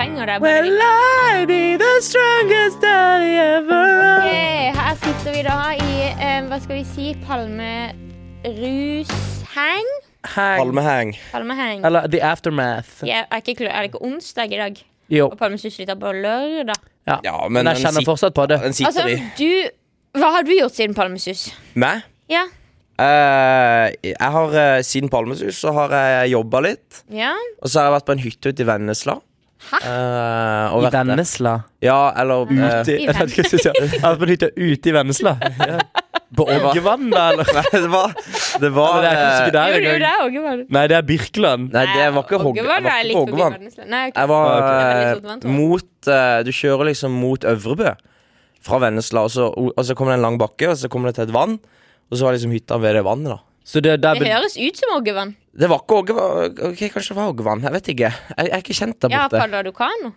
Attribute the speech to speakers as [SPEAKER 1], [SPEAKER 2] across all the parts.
[SPEAKER 1] synger det. bare
[SPEAKER 2] Will I be the strongest I ever
[SPEAKER 1] Ok,
[SPEAKER 2] am?
[SPEAKER 1] her sitter vi da i eh, hva skal vi si, palmerusheng?
[SPEAKER 2] Hang.
[SPEAKER 3] Palmeheng.
[SPEAKER 1] Palmeheng.
[SPEAKER 2] Eller The Aftermath.
[SPEAKER 1] Ja, er, ikke, klo- er det ikke onsdag i dag?
[SPEAKER 2] Jo.
[SPEAKER 1] Og palmesus slutter på lørdag.
[SPEAKER 2] Ja.
[SPEAKER 3] Ja, men
[SPEAKER 2] men, jeg
[SPEAKER 3] den
[SPEAKER 2] kjenner
[SPEAKER 3] sit-
[SPEAKER 2] fortsatt på det.
[SPEAKER 3] Den
[SPEAKER 1] Altså,
[SPEAKER 3] sitter i.
[SPEAKER 1] du Hva har du gjort siden palmesus?
[SPEAKER 3] Meg?
[SPEAKER 1] Ja.
[SPEAKER 3] Eh, jeg har eh, Siden Palmesus så har jeg jobba litt.
[SPEAKER 1] ja.
[SPEAKER 3] Og så har jeg vært på en hytte ute i Vennesla.
[SPEAKER 1] Hæ? Mm.
[SPEAKER 3] Eh, og
[SPEAKER 2] I
[SPEAKER 3] vært der.
[SPEAKER 2] Vennesla.
[SPEAKER 3] Ja, eller eh,
[SPEAKER 2] Ute,
[SPEAKER 1] I
[SPEAKER 2] jeg vet ikke hva jeg skal si. Jeg har vært på en hytte ute i Vennesla. På Ågevann, da, eller?
[SPEAKER 3] Nei, det var Det
[SPEAKER 2] Eller
[SPEAKER 3] var
[SPEAKER 2] det er kanskje
[SPEAKER 3] eh,
[SPEAKER 2] ikke der
[SPEAKER 1] Gjorde du det
[SPEAKER 2] engang.
[SPEAKER 1] òg, var det?
[SPEAKER 2] Nei, det er Birkeland.
[SPEAKER 3] Nei, det var ikke
[SPEAKER 1] Åge
[SPEAKER 3] Hogge- jeg
[SPEAKER 1] var
[SPEAKER 3] var
[SPEAKER 1] da
[SPEAKER 3] ikke
[SPEAKER 1] litt
[SPEAKER 3] på
[SPEAKER 1] forbi
[SPEAKER 3] Hoggevann.
[SPEAKER 1] Vennesla. Nei, ok.
[SPEAKER 3] Jeg var
[SPEAKER 2] Ah, ok.
[SPEAKER 3] eh,
[SPEAKER 1] Det er sånn veldig stort vanntorn.
[SPEAKER 3] mot eh, Du kjører liksom mot Øvrebø fra Vennesla, og så, og så kommer det en lang bakke, og så kommer det til et vann. Og så var liksom hytta ved det vannet, da.
[SPEAKER 2] Så det, der,
[SPEAKER 1] Det høres ut som Ågevann.
[SPEAKER 3] Det var ikke Ågevann. Ok, kanskje det var Ågevann. Jeg vet ikke. Jeg, jeg er ikke kjent der
[SPEAKER 1] Ja,
[SPEAKER 3] borte.
[SPEAKER 1] padla du kano?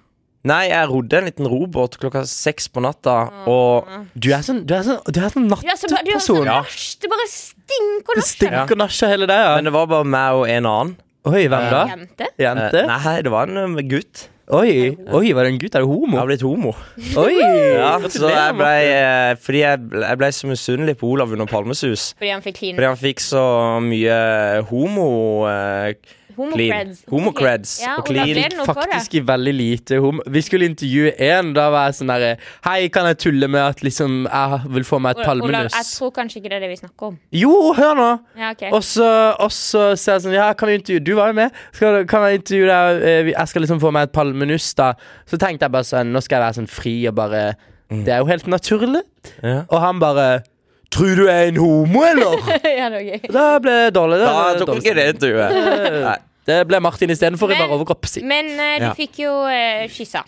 [SPEAKER 3] Nei, jeg rodde en liten robåt klokka seks på natta,
[SPEAKER 1] Ah.
[SPEAKER 3] og
[SPEAKER 2] du er sånn, du er sånn, du er sånn
[SPEAKER 1] Du er så- du er
[SPEAKER 2] natteperson.
[SPEAKER 1] sånn nasj. Det bare stinker
[SPEAKER 2] Det
[SPEAKER 1] nasj. her.
[SPEAKER 2] stinker nasj av hele deg.
[SPEAKER 3] Men
[SPEAKER 2] Ja.
[SPEAKER 3] det var bare meg og en annen.
[SPEAKER 2] Oi, hvem da?
[SPEAKER 1] Jente?
[SPEAKER 3] Eh,
[SPEAKER 2] Jente?
[SPEAKER 3] nei, det var en eh, gutt.
[SPEAKER 2] Oi, oi, var det en gutt? Er du
[SPEAKER 3] Jeg
[SPEAKER 2] homo?
[SPEAKER 3] har blitt homo.
[SPEAKER 2] Oi!
[SPEAKER 3] Ja, så jeg
[SPEAKER 2] Gratulerer,
[SPEAKER 3] ble,
[SPEAKER 2] Martin.
[SPEAKER 3] eh, fordi jeg, ble- jeg ble så misunnelig på Olav under Palmesus.
[SPEAKER 1] Fordi han fikk clean.
[SPEAKER 3] Fordi han fikk så mye homo... Eh,
[SPEAKER 1] Homocreds.
[SPEAKER 3] Clean. Homocreds
[SPEAKER 1] Ja, Ola,
[SPEAKER 3] og clean.
[SPEAKER 1] ble det noe for det?
[SPEAKER 2] Faktisk i veldig lite hum. Vi skulle intervjue én. Da var jeg sånn derre Hei, kan jeg tulle med at liksom jeg vil få meg et
[SPEAKER 1] Ola- Olav, jeg
[SPEAKER 2] palmenuss?
[SPEAKER 1] tror kanskje ikke det er det vi snakker om.
[SPEAKER 2] Jo, hør nå!
[SPEAKER 1] Ja, ok.
[SPEAKER 2] Og så, og så sier jeg sånn Ja, kan vi intervjue Du var jo med. Skal, kan jeg intervjue deg? Eh, vi- Jeg skal liksom få meg et palmenuss, da. Så tenkte jeg bare sånn Nå skal jeg være sånn fri og bare Det er jo helt naturlig.
[SPEAKER 3] Mm. Ja.
[SPEAKER 2] Og han bare Tror du jeg er en homo, eller?
[SPEAKER 1] ja, det var gøy.
[SPEAKER 2] da ble det dårlig.
[SPEAKER 3] Da
[SPEAKER 2] Da,
[SPEAKER 3] tok ikke det intervjuet. Nei.
[SPEAKER 2] det ble Martin istedenfor i
[SPEAKER 1] Men-
[SPEAKER 2] bare overkropp. si.
[SPEAKER 1] Men eh, du
[SPEAKER 3] Ja.
[SPEAKER 1] fikk jo uh, kyssa.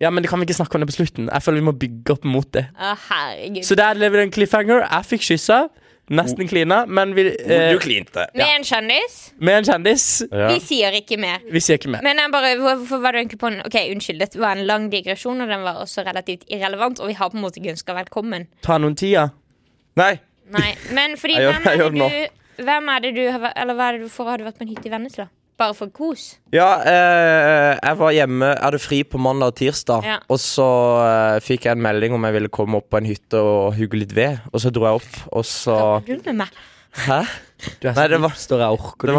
[SPEAKER 2] Ja, men det kan vi ikke snakke om det på slutten. Jeg føler vi må bygge opp mot det.
[SPEAKER 1] Å, herregud.
[SPEAKER 2] Så der lever det en cliffhanger. Jeg fikk kyssa. Nesten klina, men vi, eh,
[SPEAKER 3] Du klinte.
[SPEAKER 1] Med en kjendis.
[SPEAKER 2] med en kjendis.
[SPEAKER 1] Vi sier ikke mer.
[SPEAKER 2] Vi sier ikke mer.
[SPEAKER 1] Men jeg bare, hvor- hvorfor var du egentlig på en Ok, unnskyld, dette var en lang digresjon, og den var også relativt irrelevant, og vi har på en måte ikke ønska velkommen.
[SPEAKER 2] Ta noen tida.
[SPEAKER 3] Nei.
[SPEAKER 1] Nei, men fordi
[SPEAKER 3] Jeg gjør-
[SPEAKER 1] hvem
[SPEAKER 3] jeg
[SPEAKER 1] er
[SPEAKER 3] gjør
[SPEAKER 1] det du Hvem er det du har vært- Eller hva er det du for har du vært på en hytte i Vennesla? Bare for kos?
[SPEAKER 3] Ja, eh, jeg var hjemme, jeg hadde fri på mandag og tirsdag,
[SPEAKER 1] Ja.
[SPEAKER 3] og så eh, fikk jeg en melding om jeg ville komme opp på en hytte og hugge litt ved, og så dro jeg opp, og så
[SPEAKER 1] Rundt med meg.
[SPEAKER 3] Hæ?
[SPEAKER 2] Du er
[SPEAKER 3] Nei, det var-
[SPEAKER 2] hipster, jeg orker
[SPEAKER 3] Det
[SPEAKER 2] det.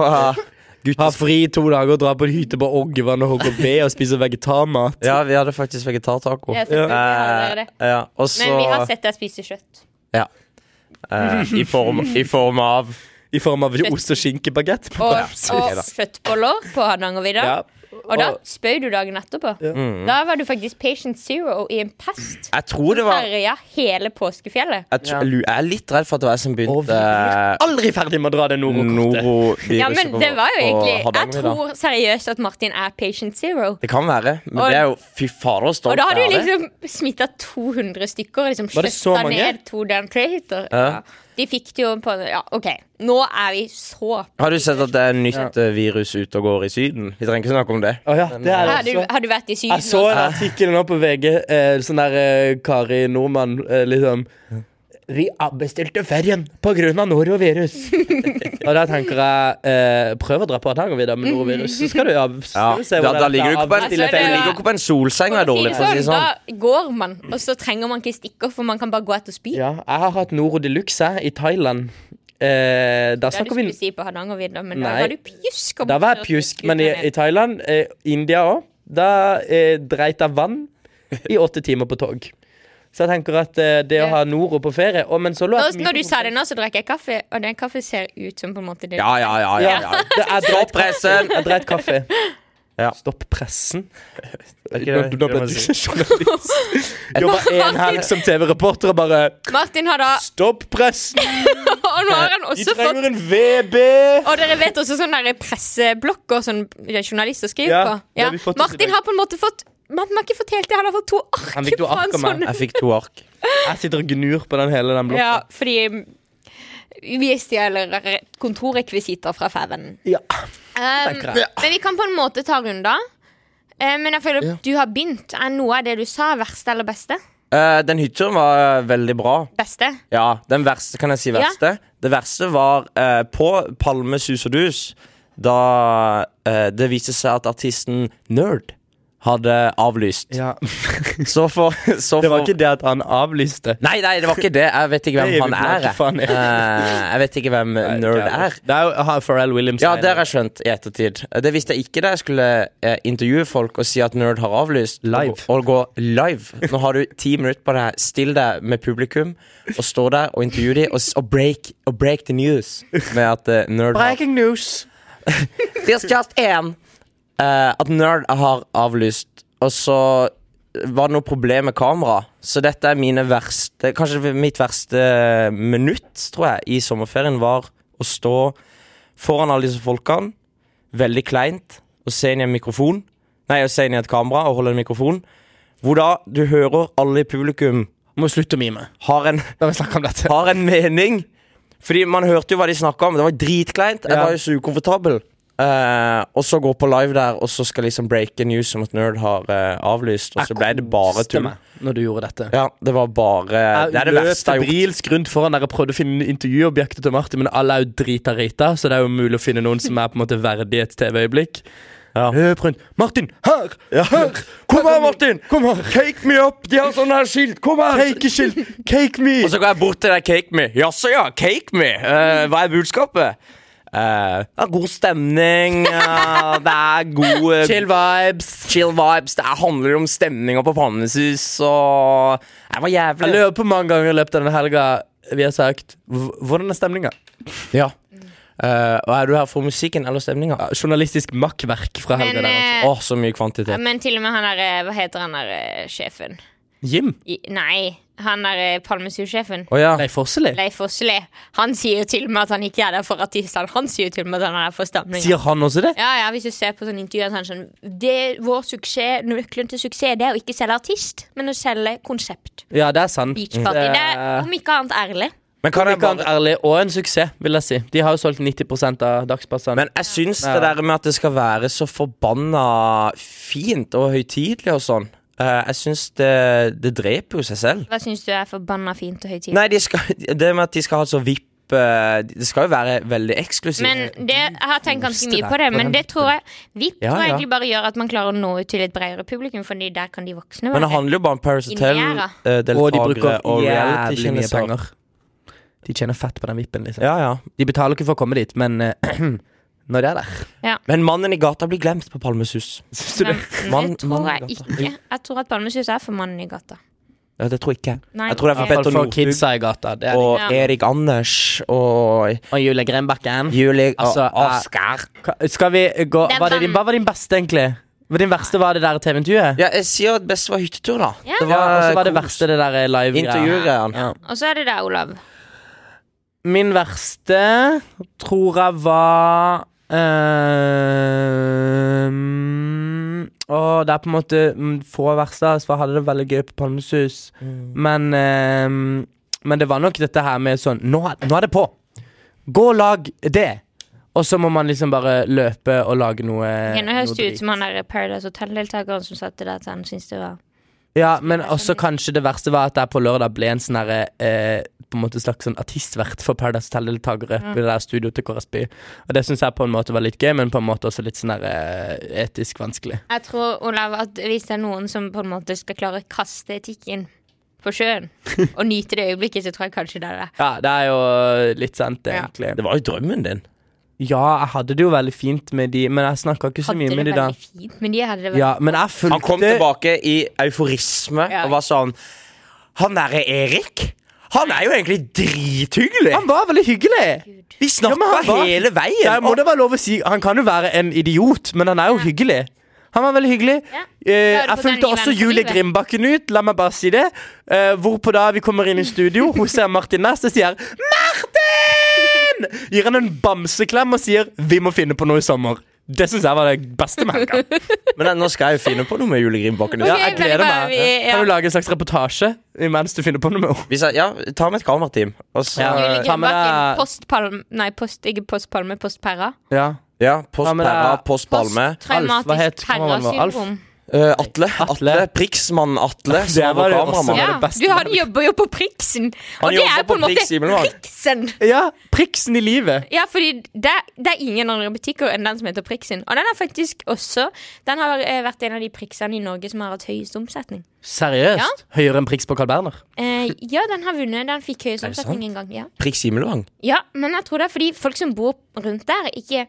[SPEAKER 3] var
[SPEAKER 2] Ha fri i to dager og dra på en hytte på Oggevann og HKB og spise vegetarmat.
[SPEAKER 3] Ja, vi hadde faktisk vegetartaco.
[SPEAKER 1] Ja, selvfølgelig hadde dere
[SPEAKER 3] Eh,
[SPEAKER 1] det.
[SPEAKER 3] ja, og så
[SPEAKER 1] Men vi har sett deg spise kjøtt.
[SPEAKER 3] ja. Eh, i, form, I form av
[SPEAKER 2] I form av ost- og skinkebagett.
[SPEAKER 1] Og,
[SPEAKER 2] Ja.
[SPEAKER 1] og kjøttboller på Hardangervidda.
[SPEAKER 2] Ja.
[SPEAKER 1] Og da
[SPEAKER 2] Og-
[SPEAKER 1] spøy du dagen etterpå. Da var du faktisk patient zero i en pest.
[SPEAKER 3] Mm. Jeg tror det var Jeg,
[SPEAKER 1] Herja hele påskefjellet.
[SPEAKER 3] tr- lu- jeg er litt redd for at det var jeg som
[SPEAKER 2] Og vi
[SPEAKER 3] begynte
[SPEAKER 2] blir aldri ferdig med å dra det norokortet.
[SPEAKER 3] noroviruset
[SPEAKER 1] Ja, men
[SPEAKER 3] på-
[SPEAKER 1] det var jo
[SPEAKER 3] på
[SPEAKER 1] egentlig Jeg
[SPEAKER 3] Hardangervidda.
[SPEAKER 1] tror seriøst at Martin er patient zero.
[SPEAKER 3] Det kan være, men
[SPEAKER 1] Og-
[SPEAKER 3] det er jo Fy fader, så
[SPEAKER 1] Og
[SPEAKER 3] stolt
[SPEAKER 1] da har du
[SPEAKER 3] jeg er av det.
[SPEAKER 1] liksom smitta 200 stykker. Liksom
[SPEAKER 2] Var det så
[SPEAKER 1] skjøtta
[SPEAKER 2] mange?
[SPEAKER 1] ned to døgnkriter. Ja. De fikk det jo på Ja, OK. Nå er vi så
[SPEAKER 3] Har du sett at det er nytt eh, virus ute og går i Syden? Vi trenger ikke snakke om det.
[SPEAKER 2] Å ja, det er
[SPEAKER 1] Har
[SPEAKER 2] det
[SPEAKER 1] du,
[SPEAKER 2] også.
[SPEAKER 1] har du vært i Syden?
[SPEAKER 2] Jeg så en artikkel nå på VG. Eh, sånn der eh, Kari Nordmann, eh, liksom. Vi avbestilte ferien pga. norovirus. og da tenker jeg eh, Prøv å dra på Hardangervidda med norovirus, så skal du av,
[SPEAKER 3] Ja.
[SPEAKER 2] så ser vi
[SPEAKER 3] Da,
[SPEAKER 2] hvordan
[SPEAKER 3] da
[SPEAKER 2] det
[SPEAKER 3] ligger du
[SPEAKER 2] er
[SPEAKER 3] ikke på en,
[SPEAKER 2] avbestille
[SPEAKER 1] Altså, det
[SPEAKER 3] du
[SPEAKER 1] er-
[SPEAKER 2] ferie.
[SPEAKER 3] ligger jo ikke på en solseng og er dårlig, for å si det sånn.
[SPEAKER 1] Da går man, og så trenger man ikke stikker, for man kan bare gå ut og spy.
[SPEAKER 2] Ja, jeg har hatt Noro de luxe i Thailand. Eh, da
[SPEAKER 1] Det er det
[SPEAKER 2] snakker
[SPEAKER 1] skulle
[SPEAKER 2] vi
[SPEAKER 1] si på Hardangervidda, men da
[SPEAKER 2] Nei.
[SPEAKER 1] var du pjusk. og
[SPEAKER 2] Da var
[SPEAKER 1] borte
[SPEAKER 2] jeg
[SPEAKER 1] og
[SPEAKER 2] pjusk,
[SPEAKER 1] skulle
[SPEAKER 2] men i,
[SPEAKER 1] ut
[SPEAKER 2] i
[SPEAKER 1] med
[SPEAKER 2] Thailand, eh, India òg, da eh, dreit jeg vann i åtte timer på tog. Så jeg tenker at eh, det å ha Noro på ferie Å, men så lå
[SPEAKER 1] Nå,
[SPEAKER 2] jeg
[SPEAKER 1] når du sa det nå, så drakk jeg kaffe, og den kaffe ser ut som på en måte det
[SPEAKER 3] Ja, ja, ja. ja, ja.
[SPEAKER 2] Det er dreit
[SPEAKER 3] Pressen!
[SPEAKER 2] Jeg dreit kaffe.
[SPEAKER 3] Ja.
[SPEAKER 2] Stopp pressen.
[SPEAKER 3] Er
[SPEAKER 2] Nå
[SPEAKER 3] ikke det-
[SPEAKER 2] nå ble
[SPEAKER 3] det
[SPEAKER 2] du
[SPEAKER 3] man sier?
[SPEAKER 2] journalist. Jobba en helg som TV-reporter og bare
[SPEAKER 1] Martin har da
[SPEAKER 2] Stopp pressen!
[SPEAKER 1] Og nå har han
[SPEAKER 2] De
[SPEAKER 1] også fått
[SPEAKER 2] trenger en VB!
[SPEAKER 1] Og dere vet også sånne der presseblokker sånn, eh, som journalister skriver
[SPEAKER 2] Ja,
[SPEAKER 1] på.
[SPEAKER 2] det har vi fått oss i dag.
[SPEAKER 1] Martin har på en måte fått Man har ikke fått helt det, han har fått to ark.
[SPEAKER 2] Han fikk to
[SPEAKER 1] fra en
[SPEAKER 2] ark av meg.
[SPEAKER 1] sånn-
[SPEAKER 3] Jeg fikk to ark.
[SPEAKER 2] Jeg sitter og gnur på den hele den blokka.
[SPEAKER 1] Ja, fordi vi stjeler re- kontorrekvisitter fra Fæven.
[SPEAKER 2] Ja.
[SPEAKER 1] Um,
[SPEAKER 2] tenker jeg.
[SPEAKER 1] men vi kan på en måte ta runder. Eh, men jeg føler at du har begynt. Er noe av det du sa, verste eller beste?
[SPEAKER 3] Eh, den hytteturen var eh, veldig bra.
[SPEAKER 1] Beste.
[SPEAKER 3] Ja, den verste, kan jeg si verste? Det verste var eh, på Palme sus og dus, da eh, det viste seg at artisten Nerd hadde avlyst.
[SPEAKER 2] Ja.
[SPEAKER 3] Så for, så
[SPEAKER 2] Det var
[SPEAKER 3] for-
[SPEAKER 2] ikke det at han avlyste.
[SPEAKER 3] Nei, nei, det var ikke det. Jeg vet ikke
[SPEAKER 2] Det er
[SPEAKER 3] hvem han
[SPEAKER 2] jo ikke
[SPEAKER 3] er.
[SPEAKER 2] faen,
[SPEAKER 3] jeg.
[SPEAKER 2] ja.
[SPEAKER 3] Eh, jeg vet ikke hvem nerd er.
[SPEAKER 2] Det er jo ha, Pharrell Williams.
[SPEAKER 3] Ja, det har jeg skjønt i ettertid. Det visste jeg ikke da jeg skulle eh, intervjue folk og si at nerd har avlyst.
[SPEAKER 2] Live.
[SPEAKER 3] Og, og gå live. Nå har du ti minutter på deg. Still deg med publikum og stå der og intervjue dem og, s- og, break, og break the news med at eh, nerd har
[SPEAKER 2] Breaking news.
[SPEAKER 3] There's just én. Eh, at nerd har avlyst. Og så var det noe problem med kamera. Så dette er mine verste Kanskje mitt verste minutt, tror jeg, i sommerferien var å stå foran alle disse folkene, veldig kleint, og se inn i en mikrofon. Nei, å se inn i et kamera og holde en mikrofon. Hvor da du hører alle i publikum
[SPEAKER 2] Må slutte å mime.
[SPEAKER 3] har en
[SPEAKER 2] Da har vi snakket om dette.
[SPEAKER 3] har en mening. Fordi man hørte jo hva de snakka om. Det var dritkleint. Jeg
[SPEAKER 2] Ja.
[SPEAKER 3] var jo så ukomfortabel. Eh, og så gå på live der, og så skal liksom breake news om at Nerd har eh, avlyst. Og så ble det bare tull.
[SPEAKER 2] Stemmer, Når du gjorde dette.
[SPEAKER 3] Ja, det var bare Det er det verste jeg har gjort.
[SPEAKER 2] febrilsk rundt foran der jeg prøvde å finne intervjuobjektet til Martin, men alle er jo drita rita, så det er jo mulig å finne noen som er på en måte verdig et TV-øyeblikk.
[SPEAKER 3] Ja.
[SPEAKER 2] Løp rundt. Martin, her! Her!
[SPEAKER 3] Kom her, Martin!
[SPEAKER 2] Kom her!
[SPEAKER 3] Cake me up! De har sånne her skilt! Kom her!
[SPEAKER 2] Cakeskilt! Cake me!
[SPEAKER 3] Og så går jeg bort til deg, cake me. Jaså, ja, cake me. Eh, hva er budskapet? Eh, det er god stemning. eh, det er god eh,
[SPEAKER 2] Chill vibes.
[SPEAKER 3] chill vibes. Det er- handler om stemninga på Pannesus og Det var
[SPEAKER 2] Jeg
[SPEAKER 3] jævlig.
[SPEAKER 2] lurer på mange ganger i løpet av denne helga vi har sagt "Hv- Hvordan er stemninga?
[SPEAKER 3] Ja. Eh, og er du her for musikken eller stemninga? Å,
[SPEAKER 2] Ja, journalistisk makkverk fra helga.
[SPEAKER 1] Men,
[SPEAKER 2] der, altså.
[SPEAKER 1] eh,
[SPEAKER 3] så mye kvantitet.
[SPEAKER 1] men til og med han der eh, Hva heter han der eh, sjefen?
[SPEAKER 2] Jim?
[SPEAKER 1] I, nei, han der eh, Palmesus-sjefen.
[SPEAKER 3] Å ja.
[SPEAKER 2] Nei, Fosseli?
[SPEAKER 1] Leif Åsli. Han sier jo til og med at han ikke er der for artistene. Han sier jo til og med at han er der for stamninga.
[SPEAKER 2] Sier han også det?
[SPEAKER 1] Ja, ja, hvis du ser på sånne intervjuer, så er han sånn det, Vår suksess, nøkkelen til suksess, det er å ikke selge artist, men å selge konsept.
[SPEAKER 2] Ja, det er sant.
[SPEAKER 1] Beach party. Det er om ikke annet ærlig.
[SPEAKER 3] Men kan jeg
[SPEAKER 2] Ikke annet
[SPEAKER 3] bare
[SPEAKER 2] Eh, ærlig, og en suksess, vil jeg si. De har jo solgt 90 av dagspassene.
[SPEAKER 3] men jeg syns det der med at det skal være så forbanna fint og høytidelig og sånn eh, Jeg syns det, det dreper jo seg selv.
[SPEAKER 1] Hva syns du er forbanna fint og høytidelig?
[SPEAKER 3] Nei, de skal, det med at de skal ha så vipp eh, Det skal jo være veldig eksklusivt.
[SPEAKER 1] Men det, Jeg har tenkt ganske mye
[SPEAKER 3] deg
[SPEAKER 1] på det,
[SPEAKER 3] på
[SPEAKER 1] men
[SPEAKER 3] den
[SPEAKER 1] det tror jeg VIP
[SPEAKER 3] Ja,
[SPEAKER 1] tror jeg
[SPEAKER 3] ja.
[SPEAKER 1] egentlig bare gjør at man klarer å nå ut til et bredere publikum, Fordi der kan de voksne
[SPEAKER 3] Men det
[SPEAKER 1] være.
[SPEAKER 3] handler jo bare om Paris
[SPEAKER 1] Inni
[SPEAKER 3] Hotel,
[SPEAKER 1] her,
[SPEAKER 3] eh,
[SPEAKER 2] og de
[SPEAKER 3] deltakere
[SPEAKER 2] bruker
[SPEAKER 3] og
[SPEAKER 2] jævlig mye
[SPEAKER 3] reality-kjendiser.
[SPEAKER 2] penger. De tjener fett på den vippen. liksom
[SPEAKER 3] Ja, ja.
[SPEAKER 2] De betaler ikke for å komme dit, men eh, når de er der
[SPEAKER 3] Men mannen i gata blir glemt på Palmesus.
[SPEAKER 2] Syns du
[SPEAKER 1] Men
[SPEAKER 2] det?
[SPEAKER 3] Mann-
[SPEAKER 1] det tror
[SPEAKER 3] mann i
[SPEAKER 1] jeg
[SPEAKER 3] gata.
[SPEAKER 1] ikke. Jeg tror at Palmesus er for mannen i gata.
[SPEAKER 3] Ja, det tror ikke jeg.
[SPEAKER 1] Nei,
[SPEAKER 3] Jeg tror det er
[SPEAKER 1] ok.
[SPEAKER 3] for Petter
[SPEAKER 2] For
[SPEAKER 3] Northug
[SPEAKER 2] kidsa i gata. Det er de.
[SPEAKER 3] og
[SPEAKER 1] Ja.
[SPEAKER 3] Erik Anders og
[SPEAKER 2] Og Julie Grenbakken.
[SPEAKER 3] Julie
[SPEAKER 2] Altså,
[SPEAKER 3] og
[SPEAKER 2] eh,
[SPEAKER 3] Oscar.
[SPEAKER 2] Ka- Skal vi gå
[SPEAKER 1] Det er
[SPEAKER 2] var det din,
[SPEAKER 1] vann.
[SPEAKER 2] Hva var din beste, egentlig? Hva din verste var det der TV-intervjuet?
[SPEAKER 3] Ja, jeg sier at best var hyttetur, da.
[SPEAKER 1] Ja.
[SPEAKER 2] Ja, og så var det
[SPEAKER 3] kos.
[SPEAKER 2] verste det der eh, live-greia.
[SPEAKER 3] Intervjuet han.
[SPEAKER 2] Ja.
[SPEAKER 1] Og så er det der, Olav.
[SPEAKER 2] Min verste tror jeg var eh, ehm, Å, det er på en måte mm, få verser, så jeg hadde det veldig gøy på Palmesus. Men, ehm, men det var nok dette her med sånn Nå, er- nå er det på! Gå og lag det! Og så må man liksom bare løpe og lage noe
[SPEAKER 1] Ok, nå høres
[SPEAKER 2] Eh, noe
[SPEAKER 1] det
[SPEAKER 2] drit.
[SPEAKER 1] ut som han der Paradise Hotel-deltakeren som satte der at han syntes det var
[SPEAKER 2] Ja, men også kanskje det verste var at jeg på lørdag ble en sånn herre eh, På en måte slags sånn artistvert for Paradise Hotel-deltakere ved det der studioet til KRSB. Og det syns jeg på en måte var litt gøy, men på en måte også litt sånn der eh, etisk vanskelig.
[SPEAKER 1] Jeg tror, Olav, at hvis det er noen som på en måte skal klare å kaste etikken på sjøen og nyte det øyeblikket, så tror jeg kanskje det er det.
[SPEAKER 2] Ja, det er jo litt sant, det,
[SPEAKER 1] Ja.
[SPEAKER 2] egentlig.
[SPEAKER 3] Det var jo drømmen din.
[SPEAKER 2] Ja, jeg hadde det jo veldig fint med de, men jeg snakka ikke så
[SPEAKER 1] Hadde
[SPEAKER 2] mye
[SPEAKER 1] det
[SPEAKER 2] med de da.
[SPEAKER 1] veldig fint, men de hadde det veldig
[SPEAKER 2] Ja, men jeg fulgte
[SPEAKER 3] Han kom tilbake i euforisme
[SPEAKER 1] Ja.
[SPEAKER 3] og var sånn Han derre Erik, han er jo egentlig drithyggelig!
[SPEAKER 2] Han var veldig hyggelig!
[SPEAKER 1] Gud.
[SPEAKER 3] Vi
[SPEAKER 2] Ja, men
[SPEAKER 3] snakka
[SPEAKER 2] han var-
[SPEAKER 3] hele veien!
[SPEAKER 2] Der må det være lov å si Han kan jo være en idiot, men han er jo hyggelig. Han var veldig hyggelig.
[SPEAKER 1] Ja.
[SPEAKER 2] Eh,
[SPEAKER 1] Da er du
[SPEAKER 2] jeg
[SPEAKER 1] på den nye
[SPEAKER 2] fulgte også
[SPEAKER 1] vennen for
[SPEAKER 2] Julie
[SPEAKER 1] livet.
[SPEAKER 2] Grimbakken ut, la meg bare si det. Eh, hvorpå da vi kommer inn i studio, hun ser Martin Næss og sier 'Martin!' Gir han en bamseklem og sier 'Vi må finne på noe i sommer'. Det syns jeg var det beste med helga.
[SPEAKER 3] Men nå skal jeg jo finne på noe med Julie Grimbakken.
[SPEAKER 1] Ok,
[SPEAKER 2] Ja,
[SPEAKER 1] veldig
[SPEAKER 2] jeg gleder
[SPEAKER 1] bra.
[SPEAKER 2] meg.
[SPEAKER 1] Vi- ja.
[SPEAKER 2] Kan du lage en slags reportasje mens du finner på noe med henne?
[SPEAKER 3] Vi sa, ja, ta med et kamerateam. Og så
[SPEAKER 2] Ja.
[SPEAKER 1] Julie
[SPEAKER 2] ta med
[SPEAKER 1] Grimbakken,
[SPEAKER 2] deg-
[SPEAKER 1] postpalm... Nei, post, ikke postpalme, postperra.
[SPEAKER 2] Ja.
[SPEAKER 3] Ja, post
[SPEAKER 2] Ta med
[SPEAKER 3] Perra,
[SPEAKER 2] deg-
[SPEAKER 3] post Palme.
[SPEAKER 2] Alf, hva het
[SPEAKER 1] Posttraumatisk
[SPEAKER 2] kameraet vår? Alf?
[SPEAKER 1] perra-syndrom.
[SPEAKER 3] Eh, Atle. Atle.
[SPEAKER 2] Atle.
[SPEAKER 3] Priksmann Atle. som
[SPEAKER 2] Der var
[SPEAKER 3] var
[SPEAKER 2] det
[SPEAKER 3] kameramann.
[SPEAKER 2] også-
[SPEAKER 1] Ja,
[SPEAKER 2] det beste
[SPEAKER 1] du han jobber jo på Priksen.
[SPEAKER 3] Han
[SPEAKER 1] Og det
[SPEAKER 3] jobber
[SPEAKER 1] er på en
[SPEAKER 3] på
[SPEAKER 1] måte
[SPEAKER 3] Priks i Melbourne.
[SPEAKER 1] Priksen.
[SPEAKER 2] Ja, priksen i livet.
[SPEAKER 1] Ja, fordi det, det er ingen andre butikker enn den som heter Priksen. Og den er faktisk også Den har eh, vært en av de priksene i Norge som har hatt høyest omsetning.
[SPEAKER 2] Seriøst?
[SPEAKER 1] Ja.
[SPEAKER 2] Høyere enn priks på Carl Berner?
[SPEAKER 1] Eh, ja, den har vunnet. Den fikk høyest
[SPEAKER 3] Er det
[SPEAKER 1] omsetning en gang. Ja.
[SPEAKER 3] Priks Himmelvang.
[SPEAKER 1] ja, men jeg tror det er fordi folk som bor rundt der, ikke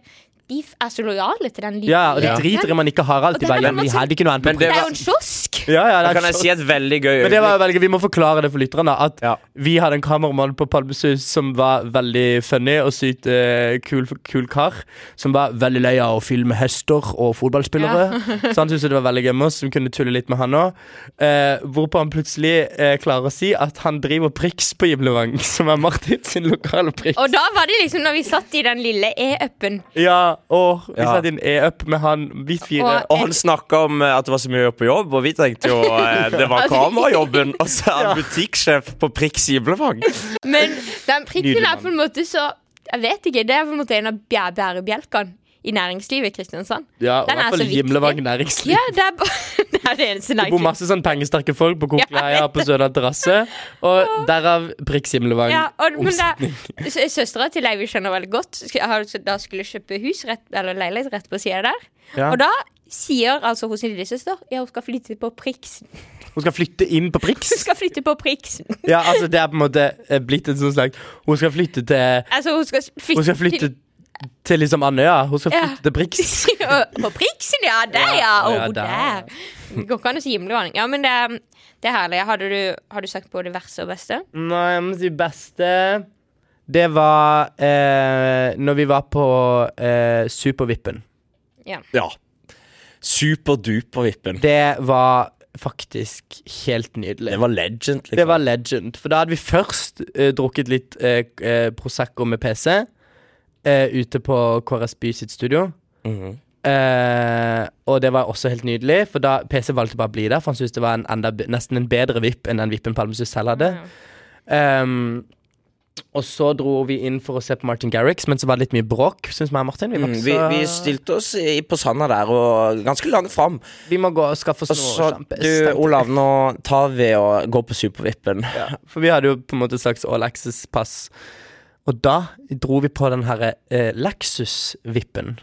[SPEAKER 1] De f- er så lojale til den lille
[SPEAKER 2] Ja, og de
[SPEAKER 1] Ja.
[SPEAKER 2] driter i om han ikke har alt.
[SPEAKER 1] Og
[SPEAKER 2] De
[SPEAKER 1] den
[SPEAKER 2] bare,
[SPEAKER 1] er
[SPEAKER 2] ja,
[SPEAKER 1] på en
[SPEAKER 2] vi
[SPEAKER 1] måte-
[SPEAKER 2] hadde ikke noe annet.
[SPEAKER 3] Men
[SPEAKER 2] på
[SPEAKER 3] det
[SPEAKER 1] Det er
[SPEAKER 3] var-
[SPEAKER 1] jo en kiosk!
[SPEAKER 2] Ja, ja, det
[SPEAKER 3] Da
[SPEAKER 2] er
[SPEAKER 3] kan jeg
[SPEAKER 2] så-
[SPEAKER 3] si et veldig gøy
[SPEAKER 2] Men det var
[SPEAKER 3] øyeblikk.
[SPEAKER 2] jo veldig, Vi må forklare det for lytterne. At
[SPEAKER 3] Ja.
[SPEAKER 2] vi hadde en kameramann på Palmesus som var veldig funny og sykt eh, kul, kul kar. Som var veldig lei av å filme hester og fotballspillere. så han syntes det var veldig gøy med oss, som kunne tulle litt med han òg. Eh, hvorpå han plutselig eh, klarer å si at han driver priks på Giblevang, som er Martin sin lokale prikk.
[SPEAKER 1] Og da var det liksom når vi satt i den lille e-upen.
[SPEAKER 2] Ja, og vi
[SPEAKER 3] Ja.
[SPEAKER 2] satt i en e-up med han, vi fire.
[SPEAKER 1] Og-
[SPEAKER 3] Og han snakka om eh, at det var så mye å gjøre på jobb, og vi tenkte jo eh,
[SPEAKER 1] Altså-
[SPEAKER 3] det var kamerajobben. Og så er han butikksjef på Priks Himmelvang.
[SPEAKER 1] Men den
[SPEAKER 3] Nydelig
[SPEAKER 1] prikken er på en måte så Jeg vet ikke, det er på en måte en av bjæ- bærebjelkene i næringslivet i Kristiansand.
[SPEAKER 2] ja, og i
[SPEAKER 1] den er
[SPEAKER 2] hvert fall
[SPEAKER 1] så viktig.
[SPEAKER 2] Giblevang næringsliv.
[SPEAKER 1] Ja, det er, ba- det, er det eneste
[SPEAKER 2] Det bor
[SPEAKER 1] næringslivet.
[SPEAKER 2] masse sånn pengesterke folk på
[SPEAKER 1] Ja, jeg
[SPEAKER 2] Kokeleier på Sødal terrasse. Og derav Prix Himmelvang.
[SPEAKER 1] Ja, og, men det, sø- søstera til Leivi skjønner veldig godt. sk- har altså Da skulle kjøpe hus rett, eller leilighet rett på sida der.
[SPEAKER 2] Ja.
[SPEAKER 1] Og da sier altså hos sin lillesøster ja, hun skal flytte på Priksen.
[SPEAKER 2] Hun skal flytte inn på Prix.
[SPEAKER 1] Hun skal flytte på Priksen.
[SPEAKER 2] Ja, altså Det er på en måte eh, blitt et sånt slags Hun skal flytte til
[SPEAKER 1] Altså, hun skal flytte,
[SPEAKER 2] Hun skal flytte til liksom Andøya. Hun skal
[SPEAKER 1] Ja.
[SPEAKER 2] flytte til Prix.
[SPEAKER 1] til- På Priksen, ja! Der, ja!
[SPEAKER 2] Ja,
[SPEAKER 1] Å,
[SPEAKER 2] ja, der, ja.
[SPEAKER 1] der. Det går ikke an å si himmelvarning. Ja, men det, er- det er herlig. Hadde du, har du sagt både verste og beste?
[SPEAKER 2] Nei, jeg må si beste Det var eh, når vi var på eh, Supervippen.
[SPEAKER 3] Ja. Superduper-vippen.
[SPEAKER 2] Det var faktisk helt nydelig.
[SPEAKER 3] Det var legend, liksom.
[SPEAKER 2] Det var legend. For da hadde vi først eh, drukket litt eh, eh, Prosecco med PC eh, ute på KRS By sitt studio.
[SPEAKER 3] Mhm.
[SPEAKER 2] Eh, og det var også helt nydelig, for da PC valgte bare å bli der. For han syntes det var en enda, be- nesten en bedre VIP enn den vippen Palmesus selv hadde. Ehm, og så dro vi inn for å se på Martin Garrix, men så var det litt mye bråk, syns meg og Martin. Vi, var
[SPEAKER 3] Mm,
[SPEAKER 2] ikke
[SPEAKER 3] vi,
[SPEAKER 2] så-
[SPEAKER 3] vi stilte oss i, på sanda der, og ganske langt fram.
[SPEAKER 2] vi må gå og skaffe
[SPEAKER 3] Og
[SPEAKER 2] oss
[SPEAKER 3] så
[SPEAKER 2] noe sjampis.
[SPEAKER 3] du, Olav, nå tar vi og går på Supervippen.
[SPEAKER 2] For vi hadde jo på en måte et slags all access-pass. Og da dro vi på den herre eh, Lexus-vippen.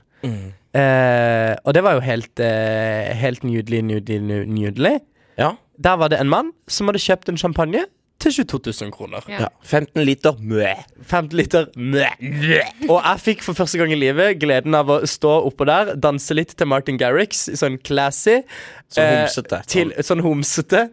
[SPEAKER 2] Eh, og det var jo helt, eh, helt nydelig, nydelig, nu- nydelig.
[SPEAKER 3] Ja.
[SPEAKER 2] Der var det en mann som hadde kjøpt en champagne til 22 000 kroner.
[SPEAKER 1] Ja.
[SPEAKER 3] ja. 15 liter mø.
[SPEAKER 2] 50 liter. Mæ, mæ. Og jeg fikk for første gang i livet gleden av å stå oppå der, danse litt til Martin Garrix, sånn classy.
[SPEAKER 3] Så
[SPEAKER 2] eh,
[SPEAKER 3] homsete.
[SPEAKER 2] til, sånn homsete.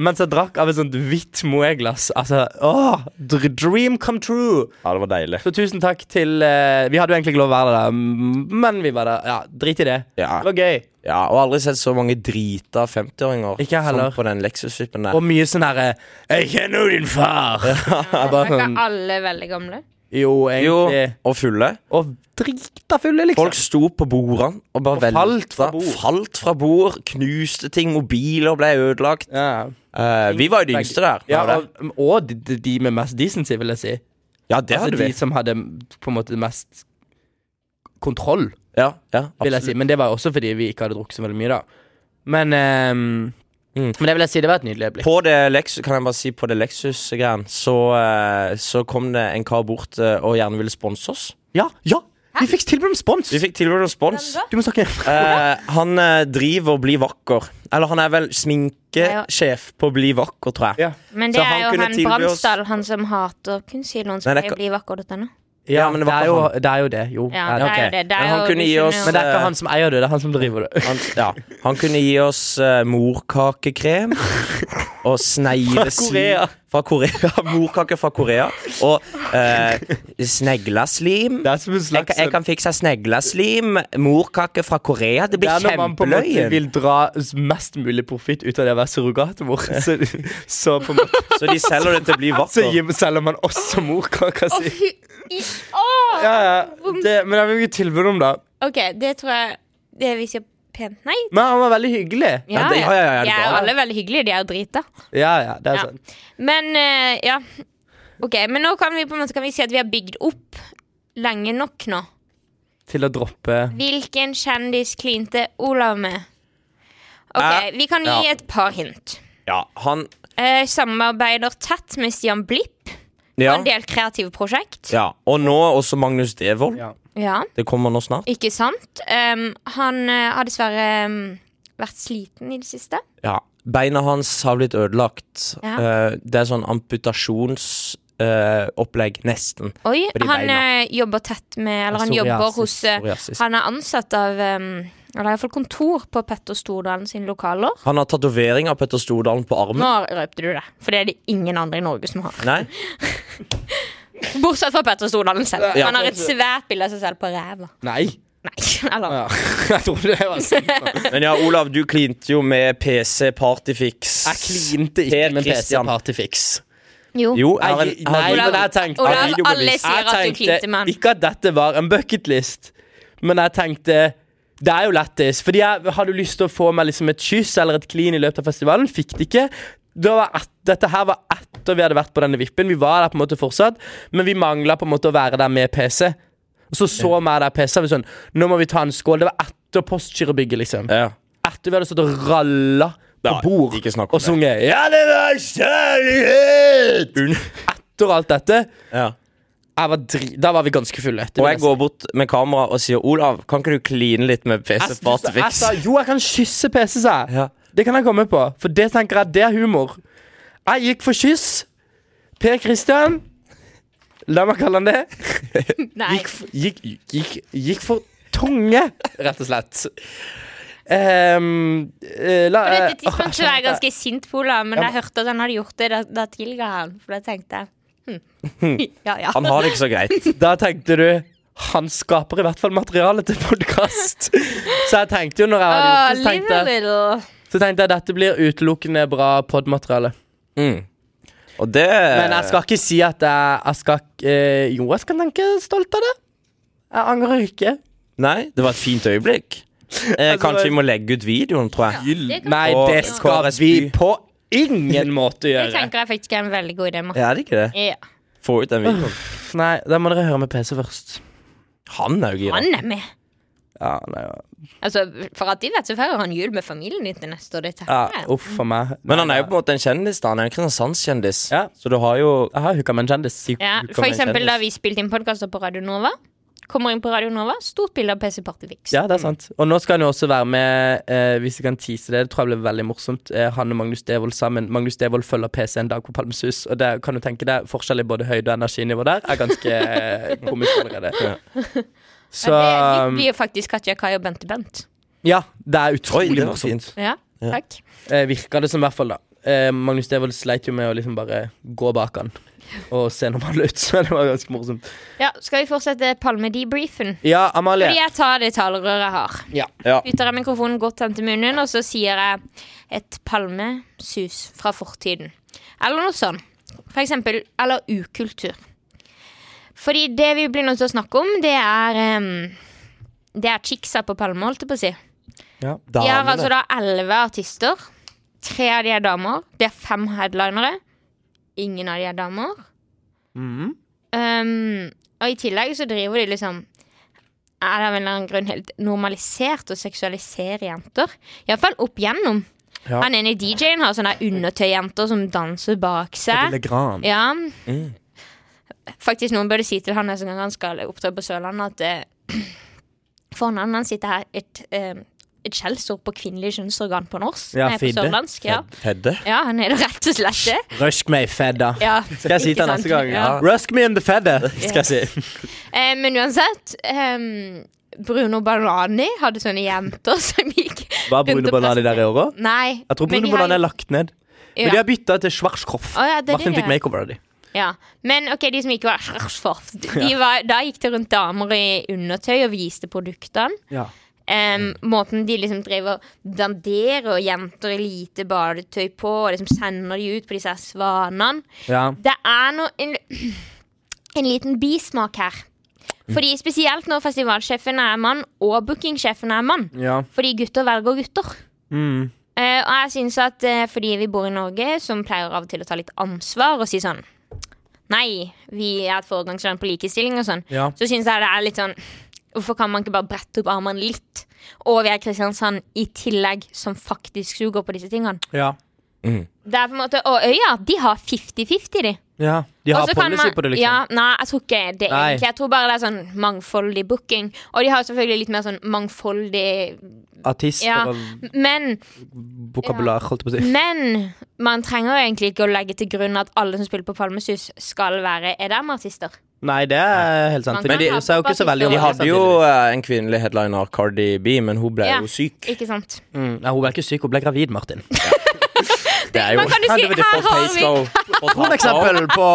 [SPEAKER 2] Mens jeg drakk av et sånt hvitt Moët-glass. Altså, åh, dr- dream come true!
[SPEAKER 3] Ja, det var deilig.
[SPEAKER 2] Så tusen takk til eh, Vi hadde jo egentlig ikke lov å være der, mm, men vi var der. Ja, drit i det.
[SPEAKER 3] Ja.
[SPEAKER 2] Det var gøy.
[SPEAKER 3] Ja, og aldri sett så mange drita 50-åringer
[SPEAKER 2] Ikke jeg heller.
[SPEAKER 3] som på den Lexus-vippen der.
[SPEAKER 2] Og mye sånn herre 'Jeg kjenner jo din far'. Bare
[SPEAKER 1] Er
[SPEAKER 2] sånn
[SPEAKER 1] ikke alle veldig gamle?
[SPEAKER 2] Jo,
[SPEAKER 3] Jo,
[SPEAKER 2] egentlig.
[SPEAKER 3] og fulle.
[SPEAKER 2] Og drita fulle, liksom.
[SPEAKER 3] Folk sto på bordene og bare
[SPEAKER 2] Og falt fra bord.
[SPEAKER 3] Falt fra bord, knuste ting, mobiler ble ødelagt.
[SPEAKER 2] ja.
[SPEAKER 3] Eh, vi var jo de yngste der.
[SPEAKER 2] Ja,
[SPEAKER 3] var det?
[SPEAKER 2] og, og de, de- de med mest decency, vil jeg si.
[SPEAKER 3] ja det
[SPEAKER 2] Altså
[SPEAKER 3] hadde vi.
[SPEAKER 2] de som hadde på en måte mest kontroll,
[SPEAKER 3] Ja, ja,
[SPEAKER 2] vil jeg
[SPEAKER 3] absolutt.
[SPEAKER 2] si. Men det var jo også fordi vi ikke hadde drukket så veldig mye, da. Men ehm,
[SPEAKER 3] Mm.
[SPEAKER 2] Men det vil jeg si, det var et nydelig øyeblikk.
[SPEAKER 3] På det Lexus, kan jeg bare si på det Lexus-greien, så, eh, så kom det en kar bort eh, og gjerne ville sponse oss.
[SPEAKER 2] Ja, ja! Vi fikk tilbud om spons!
[SPEAKER 3] Vi fikk tilbud om spons.
[SPEAKER 1] Hvem da?
[SPEAKER 2] Du må snakke.
[SPEAKER 3] Eh, han eh, driver og blir vakker. Eller han er vel sminkesjef på Bli vakker, tror jeg.
[SPEAKER 2] Ja.
[SPEAKER 1] Men
[SPEAKER 3] Så
[SPEAKER 1] det
[SPEAKER 3] han
[SPEAKER 1] er jo
[SPEAKER 3] kunne
[SPEAKER 1] han
[SPEAKER 3] tilby oss-
[SPEAKER 1] Bramsdal, han som hater kunstsiloen, som
[SPEAKER 3] Nei, det er
[SPEAKER 1] jeg
[SPEAKER 3] ikke-
[SPEAKER 1] blir vakker.no.
[SPEAKER 3] Ja, men det var
[SPEAKER 2] er
[SPEAKER 3] ikke
[SPEAKER 2] jo,
[SPEAKER 3] han.
[SPEAKER 2] det er jo det. Jo.
[SPEAKER 1] Ja,
[SPEAKER 2] er
[SPEAKER 1] det er
[SPEAKER 3] ok.
[SPEAKER 1] jo det. det er
[SPEAKER 3] Men han
[SPEAKER 1] jo,
[SPEAKER 3] kunne
[SPEAKER 1] du
[SPEAKER 3] gi
[SPEAKER 1] skjønner
[SPEAKER 3] oss-
[SPEAKER 1] jo.
[SPEAKER 2] Men det er ikke han som eier det, det er han som driver det.
[SPEAKER 3] Han, ja. han kunne gi oss eh, morkakekrem
[SPEAKER 2] Korea.
[SPEAKER 3] og snegleslim Fra Korea. Morkake fra Korea. Og eh, snegleslim.
[SPEAKER 2] Det er som en
[SPEAKER 3] Jeg, kan- jeg kan fikse snegleslim. Morkake fra Korea. Det
[SPEAKER 2] det
[SPEAKER 3] blir
[SPEAKER 2] er når man på en måte
[SPEAKER 3] kjempeløye.
[SPEAKER 2] vil dra mest mulig profitt ut av det å være surrogatmor. Så, så på en måte
[SPEAKER 3] Så de selger det til å bli
[SPEAKER 2] Så
[SPEAKER 3] vakker.
[SPEAKER 2] gir- selger man også morkaka si.
[SPEAKER 1] I- Åh!
[SPEAKER 2] Ja, ja. Det, men jeg fikk jo tilbud om det.
[SPEAKER 1] OK, det tror jeg det vi sier pent nei.
[SPEAKER 2] Men han var veldig hyggelig.
[SPEAKER 1] Ja,
[SPEAKER 3] det- ja, ja, ja, det
[SPEAKER 1] de er jo
[SPEAKER 3] var-
[SPEAKER 1] alle veldig hyggelige. De er jo drita.
[SPEAKER 2] Ja, ja, det er sånn.
[SPEAKER 1] Ja.
[SPEAKER 2] sant.
[SPEAKER 1] Men eh, ja. Ok, men nå kan vi på en måte kan vi si at vi har bygd opp lenge nok nå.
[SPEAKER 2] Til å droppe
[SPEAKER 1] Hvilken kjendis klinte Olav med? Ok,
[SPEAKER 3] Eh,
[SPEAKER 1] Vi kan gi
[SPEAKER 3] ja.
[SPEAKER 1] et par hint.
[SPEAKER 3] Ja, han
[SPEAKER 1] Eh, samarbeider tett med Stian Blipp på
[SPEAKER 3] Ja.
[SPEAKER 1] en del kreative prosjekt.
[SPEAKER 3] ja. Og nå også Magnus Devold.
[SPEAKER 2] Ja.
[SPEAKER 1] Ja,
[SPEAKER 3] Det kommer nå snart.
[SPEAKER 1] ikke sant? Em, han eh, har dessverre em, vært sliten i det siste.
[SPEAKER 3] Ja. Beina hans har blitt ødelagt.
[SPEAKER 1] Ja.
[SPEAKER 3] Eh, det er sånn amputasjonsopplegg, nesten.
[SPEAKER 1] Oi,
[SPEAKER 3] På de
[SPEAKER 1] han
[SPEAKER 3] beina.
[SPEAKER 1] eh, jobber tett med Eller han
[SPEAKER 2] Psoriasis,
[SPEAKER 1] jobber hos eh,
[SPEAKER 3] psoriasis.
[SPEAKER 1] Han er ansatt av em, Eller iallfall kontor på Petter Stordalen sine lokaler.
[SPEAKER 3] Han har tatovering av Petter Stordalen på armen.
[SPEAKER 1] Nå røpte du det, for det er det ingen andre i Norge som har.
[SPEAKER 3] Nei?
[SPEAKER 1] Bortsett fra Petter Stordalen selv.
[SPEAKER 2] Ja.
[SPEAKER 1] Han har et svært bilde av seg selv på ræva.
[SPEAKER 2] Nei.
[SPEAKER 1] Nei, eller
[SPEAKER 2] Ja. Jeg trodde det var sant.
[SPEAKER 3] Men ja, Olav, du klinte jo med PC Partyfix.
[SPEAKER 2] Jeg klinte ikke
[SPEAKER 3] Per
[SPEAKER 2] med
[SPEAKER 3] Christian.
[SPEAKER 2] PC-partyfix.
[SPEAKER 1] Jo.
[SPEAKER 3] Jo, jeg har en,
[SPEAKER 2] Nei, nei,
[SPEAKER 3] jeg har
[SPEAKER 1] Olav,
[SPEAKER 2] men jeg tenkte
[SPEAKER 1] Olav,
[SPEAKER 3] videobevis.
[SPEAKER 1] alle sier at du klinte med han.
[SPEAKER 2] ikke at dette var en bucketlist, men jeg tenkte det er jo lættis. Fordi jeg hadde lyst til å få meg liksom et kyss eller et klin i løpet av festivalen. Fikk det ikke. Da var et, dette her var etter vi hadde vært på denne vippen. Vi var der på en måte fortsatt, men vi mangla på en måte å være der med PC. Og så så vi der PC, og vi sånn Nå må vi ta en skål. Det var etter Postgirobygget, liksom.
[SPEAKER 3] Ja.
[SPEAKER 2] Etter vi hadde stått og ralla på
[SPEAKER 3] Ja,
[SPEAKER 2] bord
[SPEAKER 3] ikke snakk om
[SPEAKER 2] og
[SPEAKER 3] det.
[SPEAKER 2] sunget 'Ja, det var kjærlighet'. Etter alt dette
[SPEAKER 3] Ja.
[SPEAKER 2] jeg var dri da var vi ganske fulle. det
[SPEAKER 3] Og
[SPEAKER 2] vil
[SPEAKER 3] jeg går bort med kamera og sier Olav, kan ikke du kline litt med
[SPEAKER 2] si.
[SPEAKER 3] PC
[SPEAKER 2] Jeg- du sa- jeg
[SPEAKER 3] Partyfix?
[SPEAKER 2] sa, Jo, jeg kan kysse PC, sa jeg.
[SPEAKER 3] Ja.
[SPEAKER 2] Det kan jeg komme på, for det tenker jeg det er humor. Jeg gikk for kyss. Per Christian La meg kalle han det.
[SPEAKER 1] Nei.
[SPEAKER 2] Gikk, for- gikk, gikk, gikk for tonge, rett og slett. Ehm, eh, la,
[SPEAKER 1] På
[SPEAKER 2] eh,
[SPEAKER 1] dette
[SPEAKER 2] åh, jeg
[SPEAKER 1] tidspunktet var jeg
[SPEAKER 2] skjønner at jeg-
[SPEAKER 1] ganske sint på Olav, men da jeg hørte at han hadde gjort det, da, da tilga han. For da tenkte jeg hm. Ja, ja.
[SPEAKER 3] Han har det ikke så greit.
[SPEAKER 2] Da tenkte du han skaper i hvert fall materiale til podkast. Så jeg tenkte jo når jeg
[SPEAKER 1] Ah,
[SPEAKER 2] hadde gjort det, så
[SPEAKER 1] live
[SPEAKER 2] tenkte
[SPEAKER 1] a
[SPEAKER 2] jeg
[SPEAKER 1] little.
[SPEAKER 2] Så tenkte jeg dette blir utelukkende bra podmateriale.
[SPEAKER 3] Og det
[SPEAKER 2] Men jeg skal ikke si at jeg, jeg skal ikke- eh, Jo, jeg skal tenke stolt av det. Jeg angrer ikke.
[SPEAKER 3] Nei, det var et fint øyeblikk. Eh,
[SPEAKER 2] Altså,
[SPEAKER 3] kanskje
[SPEAKER 2] det-
[SPEAKER 3] vi må legge ut videoen, tror jeg.
[SPEAKER 1] Det kan-
[SPEAKER 2] Nei,
[SPEAKER 3] Og
[SPEAKER 2] det skal
[SPEAKER 3] KRSB.
[SPEAKER 2] vi på ingen måte
[SPEAKER 1] Det
[SPEAKER 2] gjøre.
[SPEAKER 1] tenker jeg faktisk er en veldig god idé. Martin.
[SPEAKER 3] Ja, er det ikke det?
[SPEAKER 1] Ja.
[SPEAKER 3] Få ut den videoen.
[SPEAKER 2] Nei, da må dere høre med PC først.
[SPEAKER 3] Han er jo gira.
[SPEAKER 1] Han er med.
[SPEAKER 2] Ja, nei, ja.
[SPEAKER 1] Altså, For at de vet, så feirer han jul med familien din til neste år. Det tenker
[SPEAKER 2] ja
[SPEAKER 1] jeg.
[SPEAKER 2] uff a meg.
[SPEAKER 3] Men han er jo på en måte en kjendis, da. Han er jo en Kristiansandskjendis.
[SPEAKER 2] Ja.
[SPEAKER 3] Så du har jo
[SPEAKER 2] Jeg har hooka med en kjendis.
[SPEAKER 1] Ja,
[SPEAKER 2] Hooka
[SPEAKER 1] for
[SPEAKER 2] med en
[SPEAKER 1] eksempel da
[SPEAKER 2] kjendis.
[SPEAKER 1] vi spilte inn podkaster på Radio Nova. Kommer inn på Radio Nova, stort bilde av PC Partyfix.
[SPEAKER 2] Ja, det er sant. Og nå skal han jo også være med, eh, hvis jeg kan tease det, det tror jeg blir veldig morsomt, eh, han og Magnus Devold sammen. Magnus Devold følger PC en dag på Palmesus, og det kan du tenke deg, forskjell i både høyde og energinivå der er ganske eh, komisk allerede. Så um,
[SPEAKER 1] Ja, det blir jo faktisk Katja Kai og Bente Bent.
[SPEAKER 2] Ja, det er utrolig
[SPEAKER 3] Oi, det var
[SPEAKER 2] morsomt.
[SPEAKER 3] fint.
[SPEAKER 1] Ja, takk.
[SPEAKER 2] Eh, virka det som, i hvert fall. da eh, Magnus Devold sleit jo med å liksom bare gå bak han og se normal ut, så det var ganske morsomt.
[SPEAKER 1] Ja, Skal vi fortsette Palme-debriefen?
[SPEAKER 2] Ja,
[SPEAKER 1] Fordi
[SPEAKER 2] Amalie.
[SPEAKER 1] jeg tar det talerøret jeg har.
[SPEAKER 2] Ja.
[SPEAKER 3] Ja.
[SPEAKER 1] Putter jeg mikrofonen godt hen til munnen, og så sier jeg et palmesus fra fortiden. Eller noe sånn. For eksempel Eller ukultur. Fordi det vi blir nødt til å snakke om, det er em, Det er chicksa på Palme, holdt jeg på å si.
[SPEAKER 2] Ja.
[SPEAKER 1] De har
[SPEAKER 3] Damene.
[SPEAKER 1] altså da elleve artister. Tre av de er damer. Det er fem headlinere. Ingen av de er damer. Um, og i tillegg så driver de liksom Er det av en eller annen grunn helt normalisert å seksualisere jenter? Iallfall opp gjennom.
[SPEAKER 2] Ja.
[SPEAKER 1] Han ene DJ-en har sånne undertøyjenter som danser bak seg.
[SPEAKER 2] Telegram.
[SPEAKER 1] Ja.
[SPEAKER 2] Mm.
[SPEAKER 1] Faktisk noen burde si til han neste gang han skal opptre på Sørlandet, at eh, foran han, han sitter her et, eh, et skjellsord på kvinnelig kjønnsorgan på norsk.
[SPEAKER 2] Ja,
[SPEAKER 1] Nei, på
[SPEAKER 2] fidde.
[SPEAKER 1] sørlandsk. Ja.
[SPEAKER 3] Fedde.
[SPEAKER 1] ja, han er det rett og slett det.
[SPEAKER 2] Rusk meg i fedda.
[SPEAKER 1] Ja,
[SPEAKER 2] Skal jeg si
[SPEAKER 1] ikke
[SPEAKER 2] til
[SPEAKER 1] sant?
[SPEAKER 2] neste gang?
[SPEAKER 1] Ja.
[SPEAKER 2] Rusk me in the fedda, skal jeg si.
[SPEAKER 1] Eh, men uansett ehm, Bruno Banani hadde sånne jenter som gikk
[SPEAKER 2] Var Bruno
[SPEAKER 1] Rundt og
[SPEAKER 2] Banani der i år òg?
[SPEAKER 1] Nei.
[SPEAKER 2] Jeg tror
[SPEAKER 1] men
[SPEAKER 2] Bruno
[SPEAKER 1] de har-
[SPEAKER 2] Banani er lagt ned. Men
[SPEAKER 1] Ja.
[SPEAKER 2] de har bytta til Schwarzkopf.
[SPEAKER 1] Å ja, det er
[SPEAKER 2] Martin
[SPEAKER 1] det de
[SPEAKER 2] fikk
[SPEAKER 1] er.
[SPEAKER 2] makeover av de.
[SPEAKER 1] Ja, Men ok, de som ikke var de var, Da gikk det rundt damer i undertøy og viste produktene. Em, Måten de liksom driver og danderer jenter i lite badetøy på, og liksom sender de ut på disse her svanene.
[SPEAKER 2] Ja.
[SPEAKER 1] Det er nå en, en liten bismak her. Fordi Spesielt når festivalsjefen er mann, og bookingsjefen er mann.
[SPEAKER 2] ja.
[SPEAKER 1] Fordi gutter velger gutter.
[SPEAKER 2] Mm.
[SPEAKER 1] Eh, og jeg synes at eh, fordi vi bor i Norge, som pleier av og til å ta litt ansvar og si sånn Nei, vi er et foregangsland på likestilling og sånn.
[SPEAKER 2] Ja.
[SPEAKER 1] Så synes jeg det er litt sånn Hvorfor kan man ikke bare brette opp armene litt? Og vi er Kristiansand i tillegg, som faktisk suger på disse tingene.
[SPEAKER 2] Ja.
[SPEAKER 1] Det er på en måte, Og øya, de har 50-50, de.
[SPEAKER 2] ja. De
[SPEAKER 1] Og
[SPEAKER 2] har
[SPEAKER 1] så kan
[SPEAKER 2] policy
[SPEAKER 1] man-
[SPEAKER 2] på det, liksom.
[SPEAKER 1] Ja, nei, jeg tror ikke det
[SPEAKER 2] Nei.
[SPEAKER 1] egentlig. Jeg tror bare det er sånn mangfoldig booking. Og de har jo selvfølgelig litt mer sånn mangfoldig
[SPEAKER 2] Artister
[SPEAKER 1] Ja.
[SPEAKER 2] og
[SPEAKER 1] Men,
[SPEAKER 2] vokabular, holdt jeg på å si.
[SPEAKER 1] men man trenger jo egentlig ikke å legge til grunn at alle som spiller på Palmesus, skal være EDM-artister.
[SPEAKER 2] Nei, det er helt sant.
[SPEAKER 1] Man
[SPEAKER 2] for
[SPEAKER 1] kan
[SPEAKER 2] de
[SPEAKER 1] ha
[SPEAKER 2] bryr seg jo ikke så veldig om
[SPEAKER 1] De
[SPEAKER 3] De
[SPEAKER 2] det,
[SPEAKER 3] hadde jo
[SPEAKER 2] sannsynligvis.
[SPEAKER 3] eh, en kvinnelig headliner, Cardi B, men hun ble
[SPEAKER 1] Ja.
[SPEAKER 3] jo syk.
[SPEAKER 1] Ikke sant?
[SPEAKER 2] mm, Nei, hun ble ikke syk, hun ble gravid, Martin.
[SPEAKER 3] Det er jo
[SPEAKER 1] Man kan jo si
[SPEAKER 2] Helvete,
[SPEAKER 1] her har vi
[SPEAKER 3] For
[SPEAKER 2] eksempel på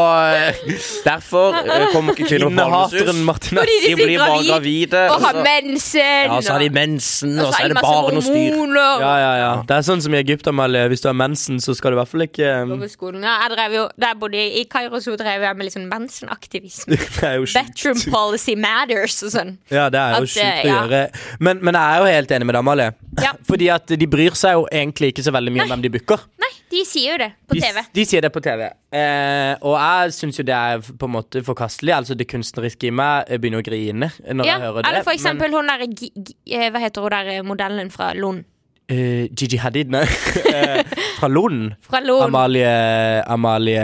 [SPEAKER 3] Derfor eh, kommer ikke kvinner på
[SPEAKER 2] innehateren
[SPEAKER 3] Hallesus.
[SPEAKER 2] Martinez.
[SPEAKER 1] Fordi de
[SPEAKER 3] De
[SPEAKER 1] blir
[SPEAKER 3] blir bare
[SPEAKER 1] gravid,
[SPEAKER 3] gravide.
[SPEAKER 1] Og har
[SPEAKER 3] og så-
[SPEAKER 1] mensen.
[SPEAKER 3] Ja, så har de
[SPEAKER 1] og-
[SPEAKER 3] mensen, og
[SPEAKER 1] og
[SPEAKER 3] så
[SPEAKER 1] har
[SPEAKER 3] er
[SPEAKER 1] de
[SPEAKER 3] det
[SPEAKER 1] Altså, masse
[SPEAKER 3] bare noe styr.
[SPEAKER 1] hormoner.
[SPEAKER 2] Ja, ja, ja. Det er sånn som i Egypt, Amalie. Hvis du har mensen, så skal du i hvert fall ikke um,
[SPEAKER 1] På skolen, ja. Jeg drev jo, der jeg bodde i Kairo, så drev jeg med litt sånn mensenaktivisme.
[SPEAKER 2] Det er jo sjukt.
[SPEAKER 1] Bedroom policy matters og sånn.
[SPEAKER 2] Ja, det er jo
[SPEAKER 1] At, eh,
[SPEAKER 2] sjukt å
[SPEAKER 1] ja.
[SPEAKER 2] gjøre. Men, men jeg er jo helt enig med deg, Amalie.
[SPEAKER 1] Ja.
[SPEAKER 2] Fordi at de bryr seg jo egentlig ikke så veldig mye om hvem de booker.
[SPEAKER 1] Nei, de sier jo det på
[SPEAKER 2] De,
[SPEAKER 1] TV.
[SPEAKER 2] de sier det på TV. Eh, og jeg syns jo det er på en måte forkastelig. Altså Det kunstneriske i meg eh, begynner å grine når
[SPEAKER 1] Ja,
[SPEAKER 2] jeg hører det.
[SPEAKER 1] eller for
[SPEAKER 2] men-
[SPEAKER 1] eksempel hun der Gi- Gi- eh, Hva heter hun der eh, modellen fra Lund?
[SPEAKER 2] Eh, Gigi Hadid, nei. Eh, Fra Lund.
[SPEAKER 1] Fra Lund.
[SPEAKER 2] Amalie Amalie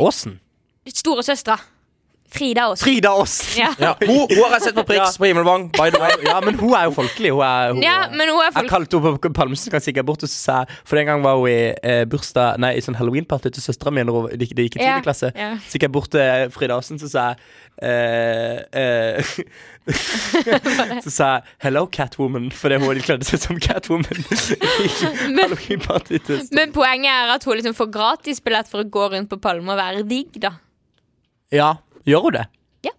[SPEAKER 2] Aasen.
[SPEAKER 1] Storesøstera. Frida også.
[SPEAKER 2] Frida Aasen!
[SPEAKER 1] Ja.
[SPEAKER 3] Ja, hun, hun har jeg sett på Prix
[SPEAKER 2] Ja.
[SPEAKER 3] på Himmelvang, by the way.
[SPEAKER 2] Ja, men hun er jo folkelig. Hun er, hun
[SPEAKER 1] Ja, men hun er
[SPEAKER 2] Jeg
[SPEAKER 1] folk...
[SPEAKER 2] kalte henne på Palmesen kan sikkert bort og så sa jeg- For den gang var hun i eh, bursdag Nei, i sånn Halloween-party til søstera mi når hun det gikk det gikk i
[SPEAKER 1] Ja,
[SPEAKER 2] 10. klasse.
[SPEAKER 1] ja.
[SPEAKER 2] Så gikk jeg bort til Frida Aasen, så sa jeg eh, eh, Så sa jeg 'Hello, Catwoman', fordi hun hadde kledd seg som Catwoman. I
[SPEAKER 1] Men-
[SPEAKER 2] Halloween-party til søstera.
[SPEAKER 1] Men poenget er at hun liksom får gratisbillett for å gå rundt på Palme og være digg, da.
[SPEAKER 2] Ja, gjør hun det?
[SPEAKER 1] Ja.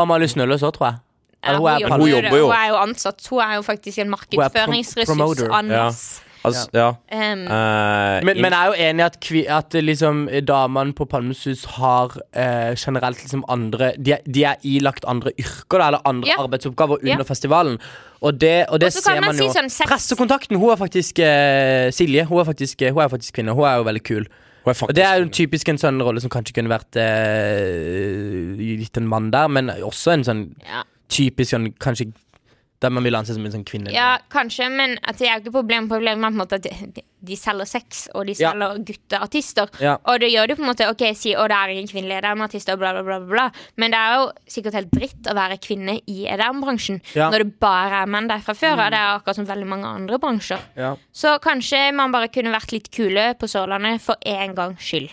[SPEAKER 2] Amalie Snølløs òg, tror jeg. Eller hun
[SPEAKER 1] Ja,
[SPEAKER 2] er på
[SPEAKER 1] hun,
[SPEAKER 3] Palme.
[SPEAKER 1] jobber
[SPEAKER 3] Hun jobber jo.
[SPEAKER 1] Hun er jo ansatt. Hun er jo faktisk en
[SPEAKER 2] er prom-
[SPEAKER 1] markedsføringsressurs.
[SPEAKER 2] promoter,
[SPEAKER 1] Anders. Um,
[SPEAKER 3] Altså, ja.
[SPEAKER 1] Em,
[SPEAKER 3] Eh,
[SPEAKER 2] Men, men jeg er jo enig i at, kvi, at eh, liksom, eh, damene på Palmesus har eh, generelt liksom andre de, er- de er ilagt andre yrker da, eller andre
[SPEAKER 1] Ja.
[SPEAKER 2] arbeidsoppgaver under
[SPEAKER 1] Ja.
[SPEAKER 2] festivalen. Og det, og det
[SPEAKER 1] Og så kan
[SPEAKER 2] ser
[SPEAKER 1] man
[SPEAKER 2] man,
[SPEAKER 1] si
[SPEAKER 2] jo.
[SPEAKER 1] sånn sex-
[SPEAKER 2] Pressekontakten, hun er faktisk eh, Silje. Hun er faktisk, eh, hun er faktisk kvinne. Hun er jo veldig kul.
[SPEAKER 3] hun er
[SPEAKER 2] Og det er jo
[SPEAKER 3] faktisk
[SPEAKER 2] typisk en sånn rolle som kanskje kunne vært eh, gitt en mann der, men også en sånn
[SPEAKER 1] Ja.
[SPEAKER 2] typisk sånn kanskje der man vil anse som en sånn kvinne.
[SPEAKER 1] ja, kanskje, men at det er jo ikke problem. Problemet er på en måte at de, de selger sex, og de
[SPEAKER 2] Ja.
[SPEAKER 1] selger gutteartister.
[SPEAKER 2] Ja.
[SPEAKER 1] Og det gjør det på en måte OK, si å, det er ingen kvinnelige EDM-artister, og bla, bla, bla, bla, bla. Men det er jo sikkert helt dritt å være kvinne i EDM-bransjen
[SPEAKER 2] Ja. Mm.
[SPEAKER 1] når det bare er menn der fra før av. Det er akkurat som veldig mange andre bransjer.
[SPEAKER 2] Ja.
[SPEAKER 1] Så kanskje man bare kunne vært litt kule på Sørlandet for en gangs skyld.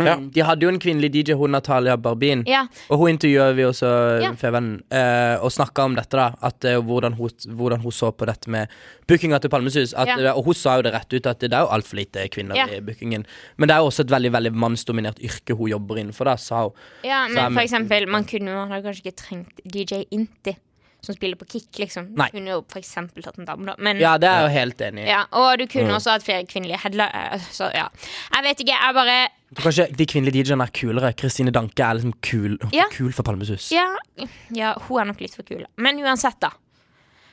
[SPEAKER 2] Ja. De hadde jo en kvinnelig DJ, hun Natalia Barbin.
[SPEAKER 1] Mm. Ja.
[SPEAKER 2] Og hun intervjuer vi også,
[SPEAKER 1] Ja.
[SPEAKER 2] Fevennen, eh, og snakka om dette. da at, eh, hvordan, hun, hvordan hun så på dette med bookinga til Palmesus. At, eh,
[SPEAKER 1] Ja.
[SPEAKER 2] Og hun sa jo det rett ut, at det er jo altfor lite kvinner
[SPEAKER 1] Ja.
[SPEAKER 2] i bookingen. Men det er jo også et veldig veldig mannsdominert yrke hun jobber innenfor, da, sa hun.
[SPEAKER 1] Ja,
[SPEAKER 2] Så er
[SPEAKER 1] men for
[SPEAKER 2] vi-
[SPEAKER 1] eksempel, man kunne jo man hadde kanskje ikke trengt DJ Inti, som spiller på kick, liksom. Du
[SPEAKER 2] Nei.
[SPEAKER 1] kunne jo for eksempel tatt en dame, da. Men, ja.
[SPEAKER 2] Ja, Mm. det er jeg jo helt enig i.
[SPEAKER 1] og du kunne også hatt flere kvinnelige headler. eh, Så ja. Jeg vet ikke, jeg bare
[SPEAKER 2] Jeg tror Kanskje de kvinnelige DJ-ene er kulere. Kristine Danke er liksom kul,
[SPEAKER 1] Ja.
[SPEAKER 2] kul for Palmesus.
[SPEAKER 1] Ja, ja hun er nok litt for kul. Men uansett, da.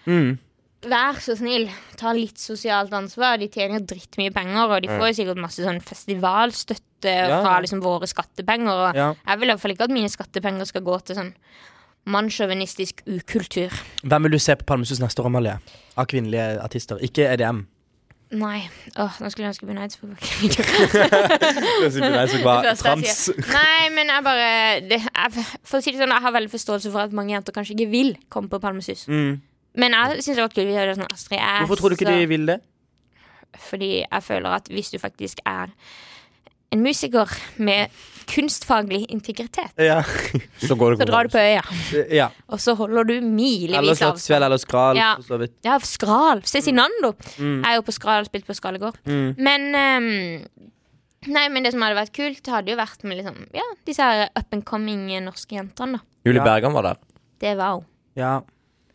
[SPEAKER 2] Mm.
[SPEAKER 1] Vær så snill, ta litt sosialt ansvar. De tjener jo drittmye penger, og de får jo sikkert masse sånn festivalstøtte
[SPEAKER 2] Ja,
[SPEAKER 1] fra
[SPEAKER 2] ja.
[SPEAKER 1] liksom våre skattepenger. Og
[SPEAKER 2] Ja.
[SPEAKER 1] jeg vil i hvert fall ikke at mine skattepenger skal gå til sånn mannssjåvinistisk ukultur.
[SPEAKER 2] Hvem vil du se på Palmesus neste år, Amalie? Av kvinnelige artister. Ikke E EDM.
[SPEAKER 1] Nei. Åh, nå skulle jeg ønske Bunaids var
[SPEAKER 2] Trams.
[SPEAKER 1] Nei, men jeg bare det, jeg, For å si det sånn, jeg har veldig forståelse for at mange jenter kanskje ikke vil komme på Palmesus.
[SPEAKER 2] Mm.
[SPEAKER 1] Men jeg syns det var kult å gjøre det sånn Astrid S.
[SPEAKER 2] Hvorfor tror du ikke de
[SPEAKER 1] og-
[SPEAKER 2] vil det?
[SPEAKER 1] Fordi jeg føler at hvis du faktisk er en musiker med kunstfaglig integritet,
[SPEAKER 2] Ja.
[SPEAKER 3] Så går det
[SPEAKER 1] så drar du på øya,
[SPEAKER 2] ja.
[SPEAKER 1] og så holder du
[SPEAKER 2] Eller
[SPEAKER 1] milevis av
[SPEAKER 2] Slottsfjell eller Skral.
[SPEAKER 1] Ja.
[SPEAKER 2] for så vidt.
[SPEAKER 1] Ja, Skral. Cezinando.
[SPEAKER 2] Mm.
[SPEAKER 1] Jeg er jo på Skral og spilt på Skral i går. Men ehm, Nei, men det som hadde vært kult, hadde jo vært med liksom, ja, disse her up and coming eh, norske jentene. da
[SPEAKER 3] Julie
[SPEAKER 2] Ja.
[SPEAKER 3] Bergan var der.
[SPEAKER 1] Det var hun.
[SPEAKER 2] Ja.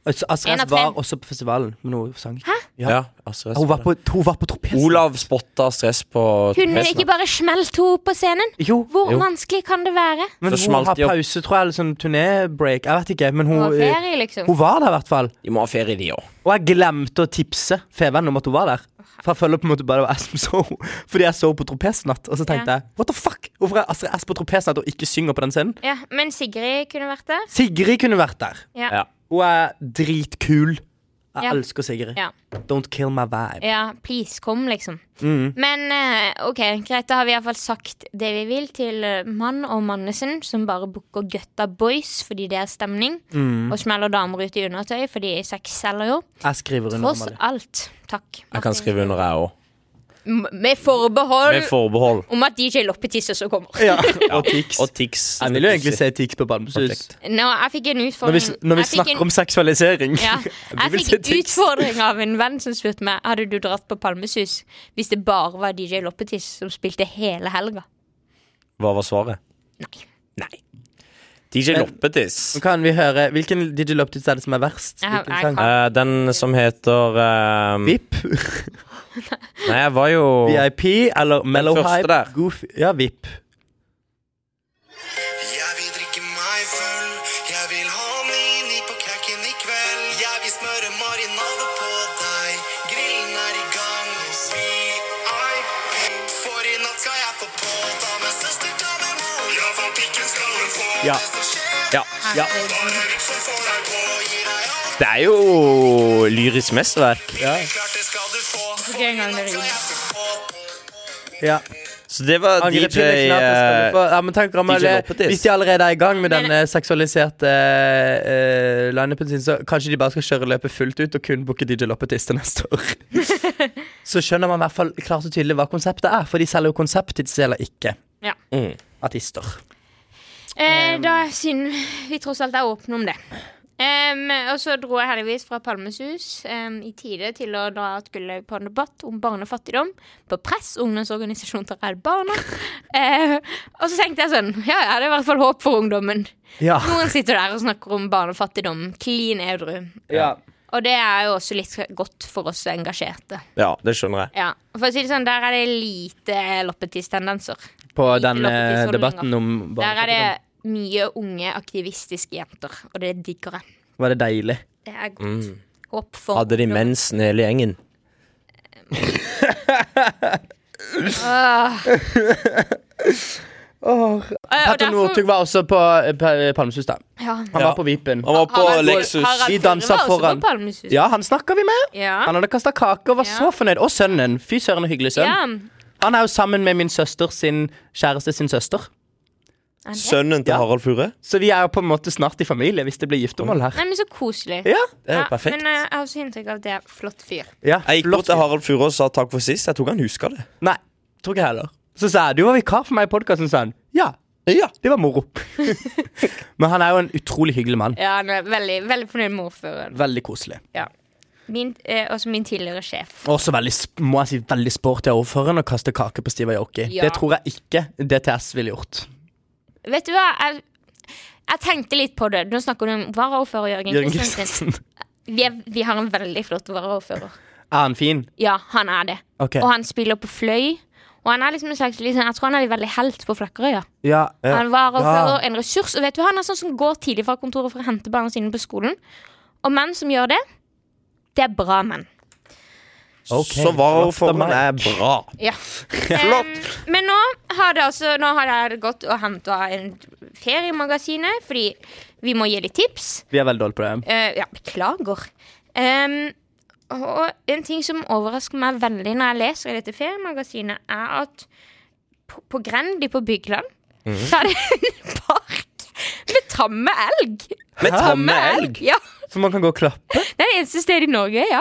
[SPEAKER 2] Altså, Astrid
[SPEAKER 1] En av
[SPEAKER 2] S
[SPEAKER 1] tre.
[SPEAKER 2] var også på festivalen, men hun sang ikke. Ja.
[SPEAKER 3] Ja, altså, Astrid S
[SPEAKER 2] Hun
[SPEAKER 3] var
[SPEAKER 2] var
[SPEAKER 3] der.
[SPEAKER 2] på, hun var på Trapesen.
[SPEAKER 3] Olav spotta stress på
[SPEAKER 1] Kunne de ikke bare smelt henne opp på scenen?
[SPEAKER 2] Jo,
[SPEAKER 1] Hvor
[SPEAKER 3] Jo.
[SPEAKER 1] vanskelig kan det være?
[SPEAKER 2] men
[SPEAKER 3] Så
[SPEAKER 2] hun
[SPEAKER 3] smalt
[SPEAKER 2] har
[SPEAKER 3] de opp.
[SPEAKER 2] pause, tror jeg, eller sånn turnébreak. Jeg vet ikke, men hun,
[SPEAKER 1] På
[SPEAKER 2] eh,
[SPEAKER 1] ferie, liksom.
[SPEAKER 2] hun var der i hvert fall.
[SPEAKER 3] De må ha ferie, de òg.
[SPEAKER 2] Og jeg glemte å tipse Feven om at hun var der. For jeg føler på en måte bare det var jeg som så henne. Fordi jeg så henne på Tropesnatt, og så tenkte
[SPEAKER 1] Ja.
[SPEAKER 2] jeg what the fuck? Hvorfor er Astrid S på Tropesnatt og ikke synger på den scenen?
[SPEAKER 1] Ja, Men Sigrid kunne vært der.
[SPEAKER 2] Sigrid kunne vært der.
[SPEAKER 1] Ja.
[SPEAKER 3] Ja.
[SPEAKER 2] Hun er dritkul. Jeg
[SPEAKER 1] Ja.
[SPEAKER 2] elsker Sigrid.
[SPEAKER 1] Ja.
[SPEAKER 2] Don't kill my vibe.
[SPEAKER 1] Ja, please, kom, liksom.
[SPEAKER 2] Mm.
[SPEAKER 1] Men eh, OK, greit, da har vi iallfall sagt det vi vil til eh, mann og mannesen, som bare booker gutta boys fordi det er stemning,
[SPEAKER 2] Mm.
[SPEAKER 1] og smeller damer ut i undertøy fordi sex selger jo.
[SPEAKER 2] Jeg skriver under.
[SPEAKER 1] Tross
[SPEAKER 2] Amalie.
[SPEAKER 1] alt. Takk.
[SPEAKER 3] Jeg kan skrive under, jeg òg.
[SPEAKER 1] M- Med forbehold
[SPEAKER 3] Med forbehold.
[SPEAKER 1] om at DJ Loppetiss også kommer.
[SPEAKER 2] Ja. Og Tix.
[SPEAKER 3] Og Tix.
[SPEAKER 2] Jeg vil jo egentlig se Tix på Bamsus.
[SPEAKER 3] Perfekt.
[SPEAKER 1] Nå, jeg fikk en
[SPEAKER 2] Når vi,
[SPEAKER 1] utfordring
[SPEAKER 2] når vi
[SPEAKER 1] jeg fikk en-
[SPEAKER 2] snakker om seksualisering.
[SPEAKER 1] ja,
[SPEAKER 2] vil
[SPEAKER 1] Jeg
[SPEAKER 2] se
[SPEAKER 1] fikk
[SPEAKER 2] Tix.
[SPEAKER 1] utfordring av en venn som spurte meg Hadde du dratt på Palmesus hvis det bare var DJ Loppetiss som spilte hele helga.
[SPEAKER 3] Hva var svaret? Nei. DJ
[SPEAKER 2] Men-
[SPEAKER 3] Loppetiss.
[SPEAKER 2] Nå kan vi høre Hvilken DJ Loptis er det som er verst?
[SPEAKER 1] Jeg har-
[SPEAKER 2] Hvilken
[SPEAKER 1] jeg
[SPEAKER 2] sang?
[SPEAKER 1] kan-
[SPEAKER 3] Eh, den som heter eh,
[SPEAKER 2] VIP,
[SPEAKER 3] Nei, jeg var jo
[SPEAKER 2] VIP eller Mellow
[SPEAKER 3] første
[SPEAKER 2] Hype?
[SPEAKER 3] der.
[SPEAKER 2] Goofy. Ja, VIP.
[SPEAKER 4] Jeg vil drikke meg full. Jeg vil ha Nini på kaken i kveld. Jeg vil smøre marinade på deg. Grillen er i gang hos VIP. For i natt skal jeg få på. Ta med søster, ta med mor. Ja, for pikken skal hun få.
[SPEAKER 3] Ja.
[SPEAKER 4] Det som skjer,
[SPEAKER 3] Eh, Ja.
[SPEAKER 1] Ja.
[SPEAKER 4] bare vi som får deg på. Gir deg alt.
[SPEAKER 3] Det er jo lyrisk mesterverk.
[SPEAKER 4] Klart det skal du få. For
[SPEAKER 1] Ok, en
[SPEAKER 4] i
[SPEAKER 1] gang det
[SPEAKER 4] natt skal
[SPEAKER 1] ringer.
[SPEAKER 4] jeg få på.
[SPEAKER 2] Ja.
[SPEAKER 3] Så det var
[SPEAKER 2] Angrer
[SPEAKER 3] DJ
[SPEAKER 2] Pille klart det skal du
[SPEAKER 3] eh,
[SPEAKER 2] få. ja, men tenk, Amalie,
[SPEAKER 3] Loppetis.
[SPEAKER 2] Hvis de allerede er i gang med
[SPEAKER 1] Men-
[SPEAKER 2] denne seksualiserte uh, lineupen sin, så kanskje de bare skal kjøre løpet fullt ut og kun booke DJ Loppetis til neste år. så skjønner man i hvert fall klart og tydelig hva konseptet er, for de selger jo konseptet, de selger ikke
[SPEAKER 1] Ja.
[SPEAKER 2] Mm. artister.
[SPEAKER 1] Eh, da, siden vi tross alt er åpne om det. Em, og så dro jeg heldigvis fra Palmesus em, i tide til å dra skulle på en debatt om barnefattigdom på Press, ungdomsorganisasjon til Redd Barna. Eh, og så tenkte jeg sånn Ja, ja, det er i hvert fall håp for ungdommen.
[SPEAKER 2] Ja.
[SPEAKER 1] Noen sitter der og snakker om barnefattigdom klin edru.
[SPEAKER 2] ja.
[SPEAKER 1] Og det er jo også litt godt for oss engasjerte.
[SPEAKER 3] eh, Ja, det skjønner jeg.
[SPEAKER 1] Ja, For å si det sånn, der er det lite loppetiss-tendenser.
[SPEAKER 2] På
[SPEAKER 1] Ikke
[SPEAKER 2] den eh,
[SPEAKER 1] Loppetis,
[SPEAKER 2] debatten om
[SPEAKER 1] Der er det
[SPEAKER 2] barnefattigdom.
[SPEAKER 1] mye unge, aktivistiske jenter, og det digger jeg.
[SPEAKER 2] Var det deilig?
[SPEAKER 1] Det er godt.
[SPEAKER 2] Mm.
[SPEAKER 1] Håp for Eh,
[SPEAKER 3] Hadde de
[SPEAKER 1] ungdom.
[SPEAKER 3] mensen hele gjengen?
[SPEAKER 1] Eh, og
[SPEAKER 2] Petter Northug var også på eh, Pe- Palmesus, da.
[SPEAKER 1] ja.
[SPEAKER 2] Han var på Vipen.
[SPEAKER 3] Han var på
[SPEAKER 1] Harald-
[SPEAKER 3] Lexus.
[SPEAKER 1] Harald
[SPEAKER 2] De
[SPEAKER 1] Furre
[SPEAKER 2] dansa
[SPEAKER 1] var også
[SPEAKER 2] foran.
[SPEAKER 1] på Palmesus.
[SPEAKER 2] Ja, han snakka vi med.
[SPEAKER 1] Ja.
[SPEAKER 2] Han hadde kasta kake og var
[SPEAKER 1] Ja.
[SPEAKER 2] så fornøyd. Og sønnen. Fy søren, en hyggelig sønn.
[SPEAKER 1] Ja.
[SPEAKER 2] Han er jo sammen med min søster sin kjæreste sin søster.
[SPEAKER 1] Er det?
[SPEAKER 3] Sønnen til
[SPEAKER 2] Ja.
[SPEAKER 3] Harald Furre?
[SPEAKER 2] Så vi er jo på en måte snart i familie hvis det blir giftermål her.
[SPEAKER 1] Nei, men så koselig.
[SPEAKER 2] Ja,
[SPEAKER 3] Det er
[SPEAKER 1] Ja,
[SPEAKER 3] jo perfekt.
[SPEAKER 1] Men eh, jeg har også inntrykk av at det er flott fyr.
[SPEAKER 2] ja.
[SPEAKER 3] Jeg gikk
[SPEAKER 2] flott.
[SPEAKER 3] bort til Harald Furre og sa takk for sist. Jeg tror ikke han huska det.
[SPEAKER 2] Nei, tror ikke jeg heller. Så sa jeg du var vikar for meg i podkasten, sa han. Ja. Ja, Det var moro. Men han er jo en utrolig hyggelig mann.
[SPEAKER 1] Ja, han er veldig, veldig fornøyd med ordføreren.
[SPEAKER 2] Veldig koselig.
[SPEAKER 1] Ja. Min, eh, også min tidligere sjef.
[SPEAKER 2] Også veldig, sp- må jeg si, veldig sporty av ordføreren å kaste kake på Steve Aoki.
[SPEAKER 1] Ja.
[SPEAKER 2] Det tror jeg ikke DTS ville gjort.
[SPEAKER 1] Vet du hva? Jeg, jeg tenkte litt på det. Nå snakker du om varaordfører Jørgen
[SPEAKER 2] Jørgen
[SPEAKER 1] Kristiansen.
[SPEAKER 2] Kristiansen.
[SPEAKER 1] Vi, er- vi har en veldig flott varaordfører.
[SPEAKER 2] Er han fin?
[SPEAKER 1] Ja, han er det.
[SPEAKER 2] Ok.
[SPEAKER 1] Og han spiller på fløy. Og han er liksom en slags liksom, Jeg tror han er en veldig helt på Flekkerøya.
[SPEAKER 2] Ja.
[SPEAKER 1] Han var og
[SPEAKER 2] Ja.
[SPEAKER 1] fører en ressurs. Og vet du, hva? han er sånn som går tidlig fra kontoret for å hente barna sine på skolen. Og menn som gjør det, det er bra menn.
[SPEAKER 2] Ok,
[SPEAKER 3] Så varaordføreren
[SPEAKER 2] flott
[SPEAKER 3] er bra.
[SPEAKER 1] Ja. Em, Eh, men nå har det altså Nå har det gått og henta en feriemagasinet, fordi vi må gi litt tips.
[SPEAKER 2] Vi er veldig dårlige på det.
[SPEAKER 1] Eh, ja, beklager. Em, og en ting som overrasker meg veldig når jeg leser i dette feriemagasinet, er at på, på Grendi på Bygland så er det en park med tamme elg.
[SPEAKER 3] Med tamme elg?
[SPEAKER 1] Ja,
[SPEAKER 2] Så man kan gå og klappe.
[SPEAKER 1] Det er det eneste stedet i Norge, ja.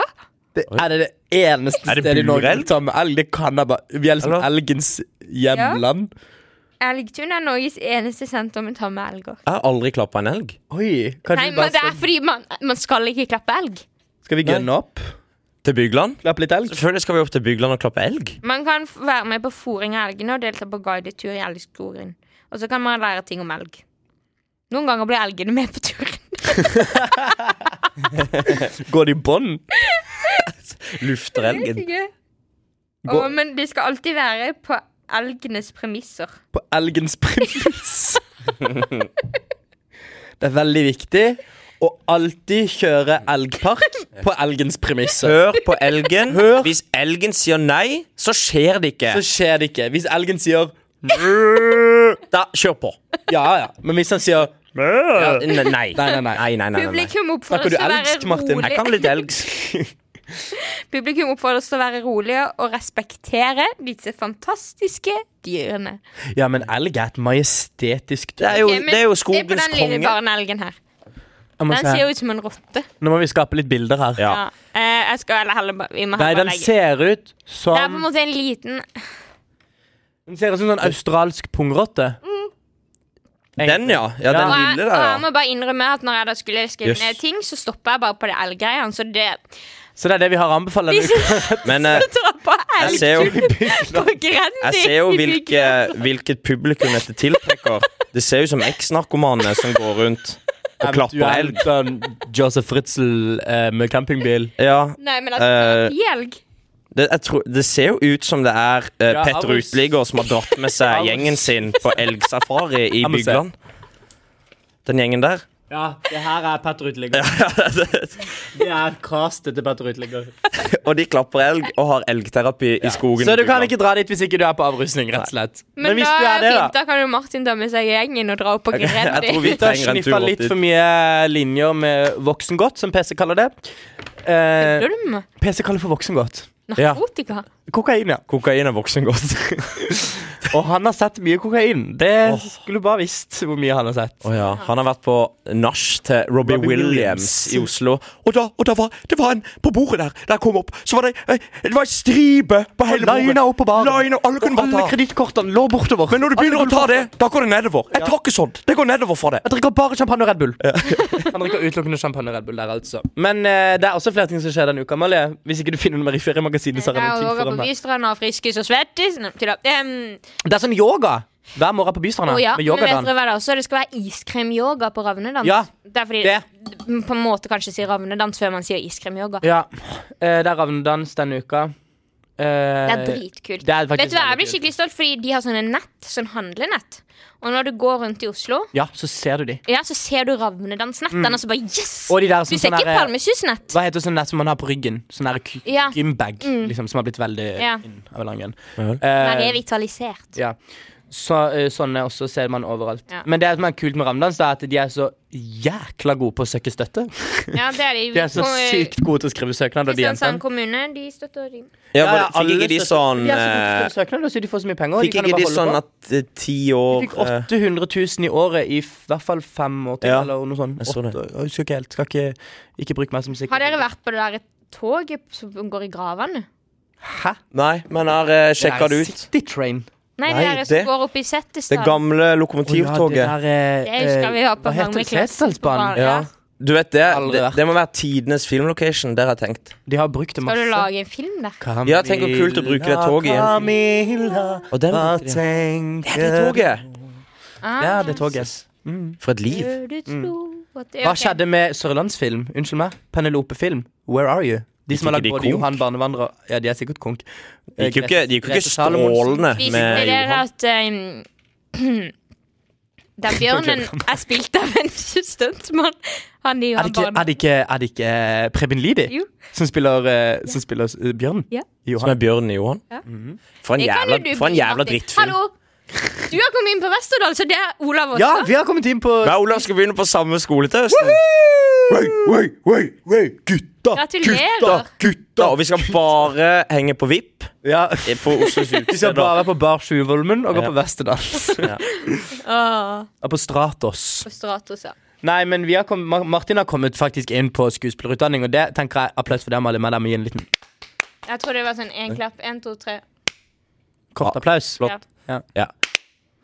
[SPEAKER 2] Det, er det det eneste
[SPEAKER 3] Er det
[SPEAKER 2] stedet i Norge
[SPEAKER 3] burelg?
[SPEAKER 2] vi tar med elg? Det kan jeg bare Vi er liksom
[SPEAKER 3] Eller?
[SPEAKER 2] elgens hjemland.
[SPEAKER 1] Elgtun er Norges eneste senter med tamme elger.
[SPEAKER 3] Jeg har aldri klappa en elg.
[SPEAKER 2] Oi, kanskje
[SPEAKER 1] Nei,
[SPEAKER 2] vi
[SPEAKER 1] men
[SPEAKER 2] bare
[SPEAKER 1] det er
[SPEAKER 2] skal,
[SPEAKER 1] fordi man, man skal ikke klappe elg.
[SPEAKER 2] skal vi gunne opp?
[SPEAKER 3] Til Bygland?
[SPEAKER 2] Klappe litt elg?
[SPEAKER 3] Selvfølgelig skal vi opp til Bygland og klappe elg.
[SPEAKER 1] Man kan f- være med på fôring av elgene og delta på guidetur i elgskogen. Og så kan man lære ting om elg. Noen ganger blir elgene med på turen.
[SPEAKER 2] Går det i bånd?
[SPEAKER 3] Lufter elgen.
[SPEAKER 1] Å, men de skal alltid være på elgenes premisser.
[SPEAKER 2] På elgens premiss. det er veldig viktig å alltid kjøre elgpark på elgens premisser.
[SPEAKER 3] Hør på elgen.
[SPEAKER 2] Hør.
[SPEAKER 3] Hvis elgen sier nei, så skjer det ikke.
[SPEAKER 2] Så skjer det ikke. Hvis elgen sier
[SPEAKER 3] Da, kjør på.
[SPEAKER 2] ja, ja, men hvis han sier
[SPEAKER 3] Ja, ne- nei. Nei,
[SPEAKER 2] nei.
[SPEAKER 3] nei, nei, nei.
[SPEAKER 1] Publikum
[SPEAKER 2] Snakker
[SPEAKER 1] oppfordres
[SPEAKER 2] du
[SPEAKER 1] til å være
[SPEAKER 2] elgsk, Martin?
[SPEAKER 1] rolig.
[SPEAKER 3] Jeg kan litt elgs.
[SPEAKER 1] Publikum oppfordres til å være rolige og respektere disse fantastiske dyrene.
[SPEAKER 2] Ja, men elg er et majestetisk
[SPEAKER 3] Det er jo,
[SPEAKER 1] Ok, men
[SPEAKER 3] det er jo
[SPEAKER 1] det er på
[SPEAKER 3] skogens
[SPEAKER 1] den lille
[SPEAKER 3] konge.
[SPEAKER 1] barneelgen her.
[SPEAKER 2] Jeg må
[SPEAKER 1] Den
[SPEAKER 2] se.
[SPEAKER 1] ser jo ut som en rotte.
[SPEAKER 2] Nå må vi skape litt bilder her.
[SPEAKER 1] Ja. Eh, jeg skal eller heller bare- Vi må
[SPEAKER 2] Nei,
[SPEAKER 1] heller
[SPEAKER 2] den
[SPEAKER 1] bare legge
[SPEAKER 2] ser ut
[SPEAKER 1] Det er på en
[SPEAKER 2] som
[SPEAKER 1] måte en liten
[SPEAKER 2] Den ser ut som en sånn australsk pungrotte.
[SPEAKER 3] Mm. Den, ja. ja. Den
[SPEAKER 1] og jeg,
[SPEAKER 3] lille
[SPEAKER 1] og
[SPEAKER 3] der,
[SPEAKER 1] jeg
[SPEAKER 3] ja.
[SPEAKER 1] må bare innrømme at når jeg da skulle skrive
[SPEAKER 3] Jøss.
[SPEAKER 1] ned ting, så stoppa jeg bare på det elggreiene. Så det
[SPEAKER 2] Så det er det vi har anbefalt. denne uka.
[SPEAKER 3] Men eh,
[SPEAKER 1] Dra på
[SPEAKER 3] jeg
[SPEAKER 1] elg
[SPEAKER 3] ser jo,
[SPEAKER 1] på Grendi!
[SPEAKER 3] jeg ser jo
[SPEAKER 1] i
[SPEAKER 3] hvilke, hvilket publikum dette tiltrekker. Det ser ut som eks-narkomane som går rundt og klapper elg.
[SPEAKER 2] Du er en sånn Josef Fritzl eh, med campingbil.
[SPEAKER 3] Ja,
[SPEAKER 1] Nei, men altså, det
[SPEAKER 3] Eh,
[SPEAKER 1] er ikke elg.
[SPEAKER 3] det, jeg tror, det ser jo ut som det er eh,
[SPEAKER 2] Ja,
[SPEAKER 3] Petter
[SPEAKER 2] Aris.
[SPEAKER 3] Uteligger som har dratt med seg
[SPEAKER 2] Aris.
[SPEAKER 3] gjengen sin på elgsafari i
[SPEAKER 2] Jeg må se.
[SPEAKER 3] Bygland. Den gjengen der.
[SPEAKER 2] Ja, det her er Petter Uteligger. Det er castet til Petter Uteligger.
[SPEAKER 3] Og de klapper elg og har elgterapi i skogen.
[SPEAKER 2] Så
[SPEAKER 3] i
[SPEAKER 2] du kan
[SPEAKER 3] Bygland.
[SPEAKER 2] ikke dra dit hvis ikke du er på avrusning, rett og slett.
[SPEAKER 1] Men, da er det fint, da kan jo Martin ta med seg gjengen og dra opp på
[SPEAKER 3] Jeg tror
[SPEAKER 1] Grendi.
[SPEAKER 3] vi
[SPEAKER 2] Det har
[SPEAKER 3] trenger en tur
[SPEAKER 2] sniffa
[SPEAKER 3] opp
[SPEAKER 2] litt
[SPEAKER 3] dit.
[SPEAKER 2] for mye eh, linjer med voksengodt, som PC kaller det. Eh,
[SPEAKER 1] Kødder du med meg?
[SPEAKER 2] PC kaller for voksengodt.
[SPEAKER 3] Ja.
[SPEAKER 1] Narkotika?
[SPEAKER 2] Kokain, ja.
[SPEAKER 3] Kokain er voksengodt.
[SPEAKER 2] Og han har sett mye kokain. Det skulle du bare visst hvor mye han har sett.
[SPEAKER 3] Å ja. Han har vært på nach til Robbie,
[SPEAKER 2] Robbie
[SPEAKER 3] Williams.
[SPEAKER 2] Williams.
[SPEAKER 3] i Oslo.
[SPEAKER 5] Og da, og da var det var en på bordet der. Da jeg kom opp, så var det eh, Det var en stripe på hele bordet.
[SPEAKER 2] lina opp på baren.
[SPEAKER 5] Lina, alle kunne
[SPEAKER 2] Og
[SPEAKER 5] bare
[SPEAKER 2] alle
[SPEAKER 5] ta.
[SPEAKER 2] kredittkortene lå bortover.
[SPEAKER 5] Men når du begynner å ta det, da går det nedover. Jeg tar ikke sånt. Det går nedover for det.
[SPEAKER 2] Jeg drikker bare champagne og Red Bull. Han drikker utelukkende champagne og Red Bull der, altså. Men eh, det er også flere ting som skjer denne uka, Amalie. Hvis ikke du finner nummer i feriemagasinet, så har jeg
[SPEAKER 1] Jeg
[SPEAKER 2] noen ting
[SPEAKER 1] går på
[SPEAKER 2] foran meg.
[SPEAKER 1] Bystranda og friskis og svettis. Nei, tulla. Em,
[SPEAKER 2] Det er sånn yoga hver morgen på
[SPEAKER 3] Ah,
[SPEAKER 2] Bystranda.
[SPEAKER 1] Å ja,
[SPEAKER 2] med
[SPEAKER 1] men vet
[SPEAKER 2] yogadagen.
[SPEAKER 1] dere hva det er også? Det skal være iskremyoga på ravnedans.
[SPEAKER 2] Ja,
[SPEAKER 1] det er fordi
[SPEAKER 2] det.
[SPEAKER 1] d- på en måte kanskje sier ravnedans før man sier iskremyoga.
[SPEAKER 2] Ja. eh, det er ravnedans denne uka. Eh,
[SPEAKER 1] Det er dritkult.
[SPEAKER 2] det er faktisk
[SPEAKER 1] Vet du hva,
[SPEAKER 2] veldig
[SPEAKER 1] Jeg blir
[SPEAKER 2] kult.
[SPEAKER 1] skikkelig stolt, fordi de har sånne nett, sånn handlenett. Og når du går rundt i Oslo,
[SPEAKER 2] Ja, så ser du de.
[SPEAKER 1] ja, så ser du ravnedansnettene, og så bare yes!
[SPEAKER 2] Mm. Og de der
[SPEAKER 1] Du
[SPEAKER 2] som
[SPEAKER 1] ser
[SPEAKER 2] sånn
[SPEAKER 1] ikke
[SPEAKER 2] der,
[SPEAKER 1] palmesusnett.
[SPEAKER 2] Hva heter sånn nett som man har på ryggen? Sånn der k-
[SPEAKER 1] Ja. Mm.
[SPEAKER 2] gymbag, liksom, som har blitt veldig
[SPEAKER 1] Ja.
[SPEAKER 2] inn over langen.
[SPEAKER 1] Den
[SPEAKER 2] Eh,
[SPEAKER 1] er revitalisert.
[SPEAKER 2] ja. så, eh, sånne også ser man overalt.
[SPEAKER 1] Ja.
[SPEAKER 2] Men det som er kult med ramdans, det er at de er så jækla gode på å søke støtte.
[SPEAKER 1] Ja, det er de.
[SPEAKER 2] De er så sykt gode til å skrive søknader, de
[SPEAKER 1] Kristiansand
[SPEAKER 2] jentene.
[SPEAKER 1] kommune, de støtter de.
[SPEAKER 3] Ja,
[SPEAKER 2] Ja,
[SPEAKER 3] var
[SPEAKER 2] ja,
[SPEAKER 3] det- fikk
[SPEAKER 2] alle
[SPEAKER 3] ikke de
[SPEAKER 2] støtter-
[SPEAKER 3] sånn
[SPEAKER 2] De er så gode til å
[SPEAKER 3] eh,
[SPEAKER 2] skrive søknader, så de får så mye penger.
[SPEAKER 3] Fikk
[SPEAKER 2] kan jo
[SPEAKER 3] ikke
[SPEAKER 2] bare
[SPEAKER 3] de
[SPEAKER 2] holde
[SPEAKER 3] sånn
[SPEAKER 2] på.
[SPEAKER 3] at eh, ti år
[SPEAKER 2] De fikk
[SPEAKER 3] eh,
[SPEAKER 2] 800 000 i året i f- hvert fall fem år til,
[SPEAKER 3] Ja,
[SPEAKER 2] eller noe sånt.
[SPEAKER 3] jeg så det.
[SPEAKER 2] Åtte- jeg husker ikke helt. Skal ikke, ikke bruke meg som sikker.
[SPEAKER 1] Har dere vært på det der toget som går i gravene?
[SPEAKER 2] Hæ?
[SPEAKER 3] Nei, men jeg har sjekka det ut.
[SPEAKER 2] City Train.
[SPEAKER 1] Nei,
[SPEAKER 3] Nei,
[SPEAKER 1] det der som
[SPEAKER 3] det-
[SPEAKER 1] går opp i
[SPEAKER 3] Det
[SPEAKER 1] Settestad.
[SPEAKER 3] gamle
[SPEAKER 2] Å ja,
[SPEAKER 3] lokomotivtoget.
[SPEAKER 2] det der, eh,
[SPEAKER 1] Det husker vi
[SPEAKER 2] eh,
[SPEAKER 1] har på
[SPEAKER 2] Hva heter det?
[SPEAKER 1] Magnus-klassen på
[SPEAKER 2] Setesdalsbanen?
[SPEAKER 1] barn-
[SPEAKER 3] ja.
[SPEAKER 1] Ja.
[SPEAKER 3] Du vet det,
[SPEAKER 2] Aldri
[SPEAKER 3] det,
[SPEAKER 2] vært.
[SPEAKER 3] det må være tidenes filmlocation, der har jeg tenkt.
[SPEAKER 2] De har brukt det
[SPEAKER 1] Skal du
[SPEAKER 2] masse.
[SPEAKER 1] lage en film der?
[SPEAKER 3] Ja, tenk hvor kult å bruke det toget i en film.
[SPEAKER 2] Camilla,
[SPEAKER 3] Og den,
[SPEAKER 2] hva
[SPEAKER 3] det
[SPEAKER 2] tenker
[SPEAKER 3] er det toget!
[SPEAKER 1] Ah.
[SPEAKER 2] Ja, det toget.
[SPEAKER 3] For et liv.
[SPEAKER 1] Bør du tro at det-
[SPEAKER 2] Mm. Hva
[SPEAKER 1] ok.
[SPEAKER 2] skjedde med Sørlandsfilm? Unnskyld meg. Penelope Film. Where are you? De som har lagd
[SPEAKER 3] Gikk ikke de
[SPEAKER 2] både
[SPEAKER 3] konk?
[SPEAKER 2] Johan Barnevandrer Ja, de er sikkert konk.
[SPEAKER 3] Det gikk jo ikke, det gikk jo ikke strålende
[SPEAKER 1] Visste dere
[SPEAKER 3] med Johan.
[SPEAKER 1] at ehm, den bjørnen er spilt av en stuntmann? Han i
[SPEAKER 2] Er det ikke,
[SPEAKER 1] Johan
[SPEAKER 2] er det ikke, er det ikke eh, Preben Lidi
[SPEAKER 1] Jo.
[SPEAKER 2] som spiller, eh, som spiller eh, Bjørn?
[SPEAKER 1] Ja.
[SPEAKER 3] Som
[SPEAKER 2] Johan.
[SPEAKER 3] er Bjørn Johan.
[SPEAKER 1] Ja.
[SPEAKER 3] For
[SPEAKER 1] altså. Mhm. Det kan
[SPEAKER 3] en
[SPEAKER 1] jo
[SPEAKER 3] jævla,
[SPEAKER 1] du
[SPEAKER 3] for en
[SPEAKER 1] bli,
[SPEAKER 3] jævla
[SPEAKER 1] Martin.
[SPEAKER 3] drittfilm.
[SPEAKER 1] Hallo! Du har kommet inn på Vesterdal, så det er Olav også.
[SPEAKER 2] Ja, vi har kommet inn på
[SPEAKER 3] Meg og Olav skal begynne på samme skole til høsten.
[SPEAKER 5] Oi, oi, oi, oi, gutta,
[SPEAKER 1] Gratulerer.
[SPEAKER 3] Da,
[SPEAKER 5] gutta.
[SPEAKER 3] og vi skal bare henge på VIP
[SPEAKER 2] ja.
[SPEAKER 3] eh, på Oslos
[SPEAKER 2] Vi skal
[SPEAKER 3] utested. da.
[SPEAKER 2] bare være på Bar Sjuvolmen og gå
[SPEAKER 3] Ja.
[SPEAKER 2] på Vesterdals.
[SPEAKER 1] Åh,
[SPEAKER 2] Og på Stratos.
[SPEAKER 1] på Stratos, ja.
[SPEAKER 2] Nei, men vi har kommet, Mar- Martin har kommet faktisk inn på skuespillerutdanning, og det tenker jeg applaus for deg, Malin. Men jeg må gi en liten
[SPEAKER 1] Jeg tror det var sånn én klapp. Én, to, tre.
[SPEAKER 2] kort applaus.
[SPEAKER 1] Ja.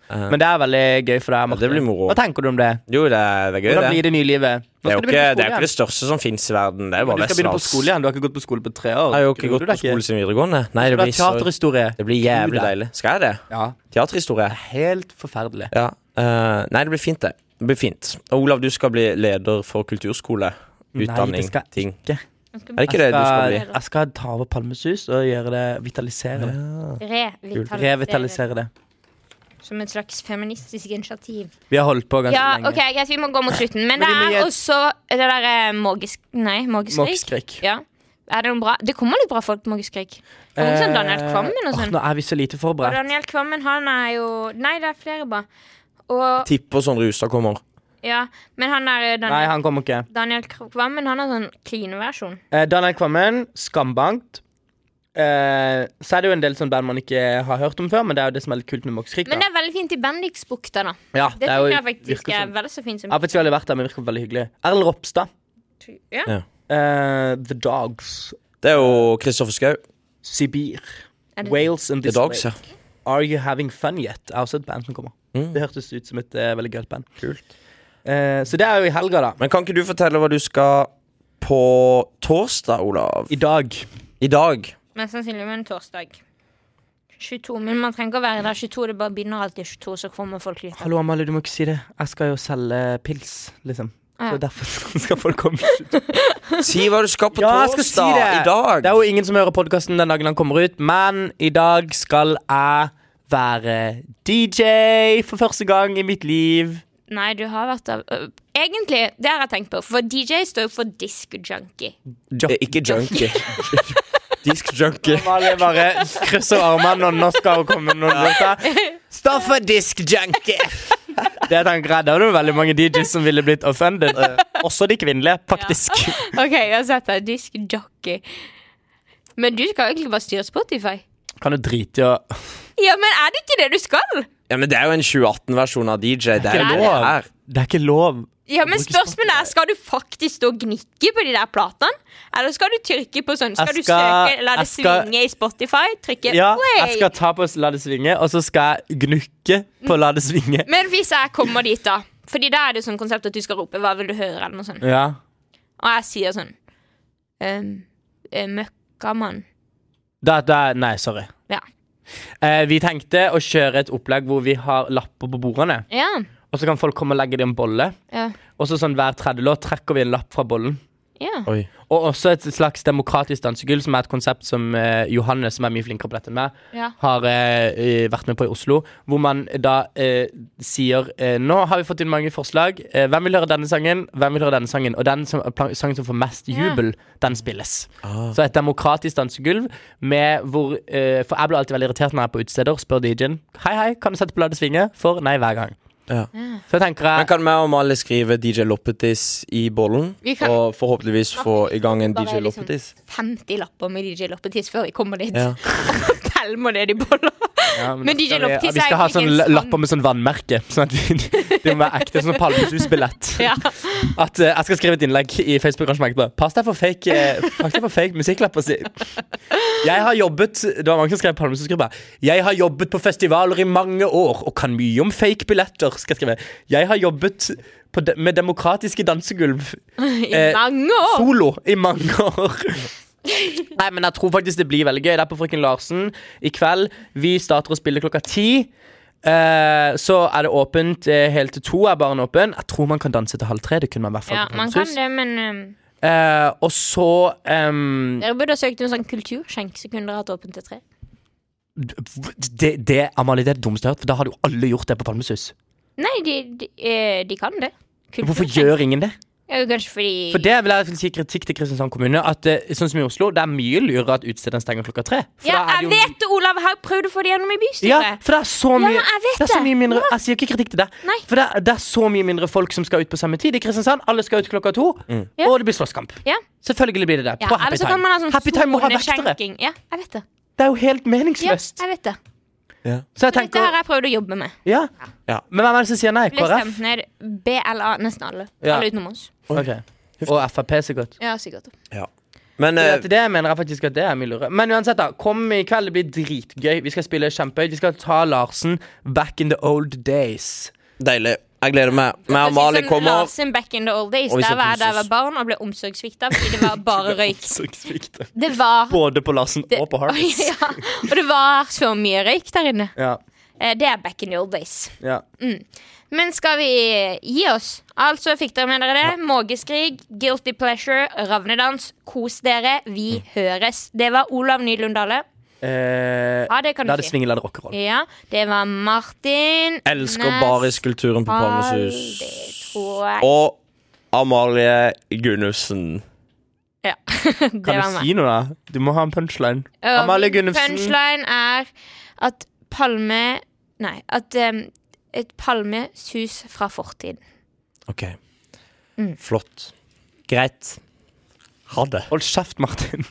[SPEAKER 2] Men det er veldig gøy for deg, Martin.
[SPEAKER 3] det blir moro.
[SPEAKER 2] Hva tenker du om det?
[SPEAKER 3] Jo, det er, det er gøy,
[SPEAKER 2] Hvordan
[SPEAKER 3] det.
[SPEAKER 2] blir det nye livet? Nå
[SPEAKER 3] Det er
[SPEAKER 2] skal
[SPEAKER 3] jo
[SPEAKER 2] du
[SPEAKER 3] ikke
[SPEAKER 2] begynne på skole
[SPEAKER 3] det, er ikke det
[SPEAKER 2] igjen.
[SPEAKER 3] største som fins i verden. Det er jo
[SPEAKER 2] Men Du
[SPEAKER 3] bare
[SPEAKER 2] skal begynne på
[SPEAKER 3] Vestlands.
[SPEAKER 2] skole igjen. Du har ikke gått på skole på tre år.
[SPEAKER 3] Jeg har jo ikke
[SPEAKER 2] Gruer
[SPEAKER 3] gått
[SPEAKER 2] du
[SPEAKER 3] på
[SPEAKER 2] deg
[SPEAKER 3] skole siden videregående. Nei, det
[SPEAKER 2] Det
[SPEAKER 3] blir,
[SPEAKER 2] er
[SPEAKER 3] så,
[SPEAKER 2] teaterhistorie.
[SPEAKER 3] det blir jævlig
[SPEAKER 2] Gruer
[SPEAKER 3] deilig. Skal jeg det?
[SPEAKER 2] Ja.
[SPEAKER 3] Teaterhistorie.
[SPEAKER 2] Helt forferdelig.
[SPEAKER 3] Ja. eh, nei, det blir fint, det. Det blir fint. Og Olav, du skal bli leder for kulturskole.
[SPEAKER 2] Nei, det
[SPEAKER 3] Utdanning.
[SPEAKER 2] skal jeg
[SPEAKER 3] ting.
[SPEAKER 2] ikke.
[SPEAKER 3] Er det ikke det du skal bli?
[SPEAKER 2] Jeg jeg skal ta over Palmesus og gjøre det vitalisere det.
[SPEAKER 1] Revitalisere.
[SPEAKER 2] Revitalisere det.
[SPEAKER 1] Som et slags feministisk initiativ.
[SPEAKER 2] Vi har holdt på ganske
[SPEAKER 1] Ja,
[SPEAKER 2] lenge.
[SPEAKER 1] ok, greit, vi må gå mot slutten. Men
[SPEAKER 2] Men
[SPEAKER 1] det
[SPEAKER 2] vi må gi
[SPEAKER 1] er
[SPEAKER 2] et-
[SPEAKER 1] også det derre magisk... Nei, magiskrik.
[SPEAKER 2] Mokkskrik.
[SPEAKER 1] Ja. Er det noe bra? Det kommer litt bra folk på magiskrik. Noen sånn Daniel Kvammen og
[SPEAKER 2] Eh, Åh,
[SPEAKER 1] sånn.
[SPEAKER 2] Nå er vi så lite
[SPEAKER 1] Og
[SPEAKER 2] forberedt.
[SPEAKER 1] Daniel Kvammen, han er jo Nei, det er flere bra. Og
[SPEAKER 3] Tipper sånn Rustad kommer.
[SPEAKER 1] Ja, men han er
[SPEAKER 2] Nei,
[SPEAKER 1] Daniel,
[SPEAKER 2] han kommer ikke.
[SPEAKER 1] Daniel Kvammen, han har sånn clean versjon.
[SPEAKER 2] Eh, Daniel Kvammen, skambankt. Eh, så er det jo en del sånn band man ikke har hørt om før, men det er jo det som er litt kult med Mox Krik.
[SPEAKER 1] Men det er veldig fint i Bendiksbukta, da.
[SPEAKER 2] Ja,
[SPEAKER 1] Det,
[SPEAKER 2] er
[SPEAKER 1] tror
[SPEAKER 2] jo-
[SPEAKER 1] jeg faktisk
[SPEAKER 2] virker
[SPEAKER 1] er
[SPEAKER 2] sånn.
[SPEAKER 1] vel så fint som
[SPEAKER 2] Jeg har faktisk aldri vært der, men virker veldig hyggelig. Erlend Ropstad.
[SPEAKER 1] ja.
[SPEAKER 3] Ja.
[SPEAKER 2] eh, the Dogs.
[SPEAKER 3] Det er jo Kristoffer Schou.
[SPEAKER 2] Sibir.
[SPEAKER 1] Er det-
[SPEAKER 2] Wales and
[SPEAKER 3] The Dogs,
[SPEAKER 2] Display.
[SPEAKER 3] ja.
[SPEAKER 2] Are You Having Fun Yet? Er også et band som kommer. Det hørtes ut som et eh, veldig gøyalt band. Mm. Kult. så det er jo i helga, da.
[SPEAKER 3] Men kan ikke du fortelle hva du skal på torsdag, Olav?
[SPEAKER 2] I dag.
[SPEAKER 3] I dag.
[SPEAKER 1] Mest sannsynlig med en torsdag. 22, Men man trenger ikke å være der 22. Det bare begynner alltid 22, så kommer folk litt.
[SPEAKER 2] Hallo, Amalie, du må ikke si det. Jeg skal jo selge pils, liksom.
[SPEAKER 1] Ah, ja.
[SPEAKER 2] Så derfor skal folk komme.
[SPEAKER 3] Si hva du skal på
[SPEAKER 2] Ja, jeg skal
[SPEAKER 3] torsdag.
[SPEAKER 2] si det.
[SPEAKER 3] I dag.
[SPEAKER 2] Det er jo ingen som hører podkasten den dagen han kommer ut, men i dag skal jeg være DJ for første gang i mitt liv.
[SPEAKER 1] Nei, du har vært der øh, Egentlig, det har jeg tenkt på, for DJ står jo for disc junkie.
[SPEAKER 3] Eh, Ikke junkie. Disk junkie.
[SPEAKER 2] Amalie bare krysser armene, og nå skal hun komme med noen låter. Stå for disk junkie! Det tenker jeg, det er det veldig mange DJs som ville blitt offended. Også de kvinnelige, faktisk.
[SPEAKER 1] OK, jeg har sett deg. Disc jockey. Men du skal egentlig bare styre Spotify.
[SPEAKER 2] Kan du drite i å
[SPEAKER 1] Ja, men er det ikke det du skal?
[SPEAKER 3] Ja, men det er jo en 2018-versjon av DJ. Det er
[SPEAKER 1] ikke
[SPEAKER 3] jo det
[SPEAKER 2] lov.
[SPEAKER 3] her.
[SPEAKER 2] Det er ikke lov.
[SPEAKER 1] Ja, men spørsmålet er, Skal du faktisk stå og gnikke på de der platene? Eller skal du trykke på sånn Skal
[SPEAKER 2] Jeg
[SPEAKER 1] du
[SPEAKER 2] skal-
[SPEAKER 1] søke, la det
[SPEAKER 2] jeg skal-
[SPEAKER 1] svinge i Spotify? Trykke
[SPEAKER 2] Ja,
[SPEAKER 1] play?
[SPEAKER 2] jeg skal ta på La det svinge, og så skal jeg gnukke på La det svinge.
[SPEAKER 1] Men hvis jeg kommer dit, da Fordi da er det sånn konsept at du skal rope 'hva vil du høre?' eller noe sånt.
[SPEAKER 2] Ja.
[SPEAKER 1] Og jeg sier sånn um, Møkkamann.
[SPEAKER 2] Da, da, nei, sorry.
[SPEAKER 1] Ja.
[SPEAKER 2] Eh, vi tenkte å kjøre et opplegg hvor vi har lapper på bordene.
[SPEAKER 1] ja.
[SPEAKER 2] Og så kan folk komme og legge det i en bolle.
[SPEAKER 1] Ja.
[SPEAKER 2] Og så sånn hver tredje låt trekker vi en lapp fra bollen.
[SPEAKER 1] ja.
[SPEAKER 2] Og også et slags demokratisk dansegull, som er et konsept som eh, Johanne, som er mye flinkere på dette enn meg,
[SPEAKER 1] Ja.
[SPEAKER 2] har eh, eh, vært med på i Oslo. Hvor man da eh, sier eh, Nå har vi fått inn mange forslag. Eh, hvem vil høre denne sangen? Hvem vil høre denne sangen? Og den som, pla- sangen som får mest jubel, den spilles. Så et demokratisk dansegulv med hvor eh, For jeg blir alltid veldig irritert når jeg er på utesteder. Spør DJ-en Hei, hei, kan du sette på Bladet svinge? For nei hver gang.
[SPEAKER 3] Ja.
[SPEAKER 2] Så tenker
[SPEAKER 3] Men
[SPEAKER 2] jeg
[SPEAKER 3] kan vi og Amalie skrive DJ Loppetis i bollen?
[SPEAKER 1] Vi kan-
[SPEAKER 3] Og forhåpentligvis få i gang en
[SPEAKER 1] Bare
[SPEAKER 3] DJ
[SPEAKER 1] liksom-
[SPEAKER 3] Loppetis?
[SPEAKER 1] 50 lapper med DJ Loppetiss før vi kommer dit.
[SPEAKER 3] Ja.
[SPEAKER 1] Tell meg det de boller.
[SPEAKER 2] ja, men
[SPEAKER 1] men
[SPEAKER 2] da
[SPEAKER 1] DJ
[SPEAKER 2] skal vi-
[SPEAKER 1] Loptis
[SPEAKER 2] ja, Vi
[SPEAKER 1] er
[SPEAKER 2] skal ha
[SPEAKER 1] egentlig
[SPEAKER 2] sånn
[SPEAKER 1] en
[SPEAKER 2] la-
[SPEAKER 1] sånn-
[SPEAKER 2] lapper med sånn vannmerke. Sånn at vi, Det må være ekte. Sånn Palmesus-billett.
[SPEAKER 1] Ja.
[SPEAKER 2] At eh, jeg skal skrive et innlegg i Facebook-arrangementet. Pass deg for fake, uh, pass deg for fake musikklapper. Si. Jeg har jobbet Det var mange som skrev Palmesus-gruppa. Jeg har jobbet på festivaler i mange år og kan mye om fake billetter. Skal jeg skrive. Jeg har jobbet på de med demokratiske dansegulv
[SPEAKER 1] I
[SPEAKER 2] Eh,
[SPEAKER 1] mange år.
[SPEAKER 2] solo i mange år. Nei, men jeg tror faktisk det blir veldig gøy. Det er på Frøken Larsen i kveld. Vi starter å spille klokka ti. Eh, så er det åpent eh, helt til to. er baren åpen Jeg tror man kan danse til halv tre. Det kunne man i hvert fall
[SPEAKER 1] Ja,
[SPEAKER 2] på
[SPEAKER 1] man kan
[SPEAKER 2] Palmesus.
[SPEAKER 1] det, men um,
[SPEAKER 2] Eh, og så ehm,
[SPEAKER 1] dere burde ha søkt en sånn kulturskjenk, så kunne dere hatt åpent til tre.
[SPEAKER 2] det, det, Amalie, det er det dummeste jeg har hørt, for da hadde jo alle gjort det på Palmesus.
[SPEAKER 1] Nei, de, de, eh, de kan det.
[SPEAKER 2] Hvorfor gjør ingen det?
[SPEAKER 1] Ja, Kanskje fordi
[SPEAKER 2] For det vil jeg si kritikk til Kristiansand kommune. At eh, sånn som i Oslo, det er mye lurere at utestedene stenger klokka tre. For
[SPEAKER 1] Ja,
[SPEAKER 2] da er
[SPEAKER 1] jeg
[SPEAKER 2] det jo-
[SPEAKER 1] vet det, Olav! Jeg har prøvd å få det gjennom i
[SPEAKER 2] Ja,
[SPEAKER 1] bystyret.
[SPEAKER 2] for det er så mye
[SPEAKER 1] Ja, jeg vet
[SPEAKER 2] det er så
[SPEAKER 1] det.
[SPEAKER 2] mye mindre altså, Jeg sier ikke kritikk til deg.
[SPEAKER 1] Nei.
[SPEAKER 2] For det er, det er så mye mindre folk som skal ut på samme tid i Kristiansand. Alle skal ut klokka to,
[SPEAKER 1] Ja.
[SPEAKER 2] og det blir slåsskamp.
[SPEAKER 1] Ja.
[SPEAKER 2] Selvfølgelig blir det det.
[SPEAKER 1] Ja,
[SPEAKER 2] på Happy
[SPEAKER 1] eller så kan
[SPEAKER 2] Time.
[SPEAKER 1] man ha sånn
[SPEAKER 2] happy Time må ha vektere.
[SPEAKER 1] soneskjenking. Ja, jeg vet det.
[SPEAKER 2] Det er jo helt
[SPEAKER 1] Ja,
[SPEAKER 2] meningsløst.
[SPEAKER 1] jeg vet det.
[SPEAKER 2] Så jeg
[SPEAKER 1] Dette har
[SPEAKER 2] tenker
[SPEAKER 1] jeg prøvd å jobbe med.
[SPEAKER 2] ja. Men hvem er det som sier nei?
[SPEAKER 1] Ble
[SPEAKER 2] KrF?
[SPEAKER 1] stemt ned BLA, nesten alle.
[SPEAKER 2] Ja.
[SPEAKER 1] Alle utenom oss.
[SPEAKER 2] Ok. Og Frp, sikkert.
[SPEAKER 1] Ja, sikkert.
[SPEAKER 3] Men
[SPEAKER 2] Så
[SPEAKER 3] eh,
[SPEAKER 2] Til det mener jeg faktisk at det er mye lurere. Men uansett, da. Kom i kveld. Det blir dritgøy. Vi skal spille kjempehøyt. Vi skal ta Larsen back in the old days.
[SPEAKER 3] deilig. Jeg gleder meg. Vi og Amalie kommer.
[SPEAKER 1] Larsen back in the old days.
[SPEAKER 3] Og vi
[SPEAKER 1] Der
[SPEAKER 3] skal
[SPEAKER 1] var jeg
[SPEAKER 3] kose
[SPEAKER 1] da jeg var
[SPEAKER 3] oss.
[SPEAKER 1] barn og ble omsorgssvikta fordi det var bare røyk. Det var
[SPEAKER 2] Både på Larsen
[SPEAKER 1] det,
[SPEAKER 2] og på Harvey.
[SPEAKER 1] ja, Og det var så mye røyk der inne.
[SPEAKER 2] Ja,
[SPEAKER 1] Eh, Det er back in the old days.
[SPEAKER 2] ja.
[SPEAKER 1] Men skal vi eh, gi oss? Altså fikk dere med dere det. Mågeskrig, guilty pleasure, ravnedans. Kos dere. Vi høres. Det var Olav Nylund Dale.
[SPEAKER 2] Eh,
[SPEAKER 1] Ja, det Ah, kan
[SPEAKER 2] la
[SPEAKER 1] du
[SPEAKER 2] det
[SPEAKER 1] si.
[SPEAKER 2] svinge, la det rockeroll.
[SPEAKER 1] Ja, det var Martin.
[SPEAKER 3] Elsker bariskulturen på Palmesus.
[SPEAKER 1] Det tror jeg.
[SPEAKER 3] Og Amalie Gunnussen.
[SPEAKER 1] Ja. det
[SPEAKER 2] Kan
[SPEAKER 1] var
[SPEAKER 2] du
[SPEAKER 1] meg.
[SPEAKER 2] si noe, da? Du må ha en punchline.
[SPEAKER 1] Og
[SPEAKER 2] Amalie
[SPEAKER 1] min
[SPEAKER 2] Gunnufsen.
[SPEAKER 1] Um, Punchline er at Palme Nei, at um, et palmesus fra fortiden.
[SPEAKER 3] OK.
[SPEAKER 1] Mm.
[SPEAKER 3] Flott. Greit. Ha det.
[SPEAKER 2] Hold kjeft, Martin.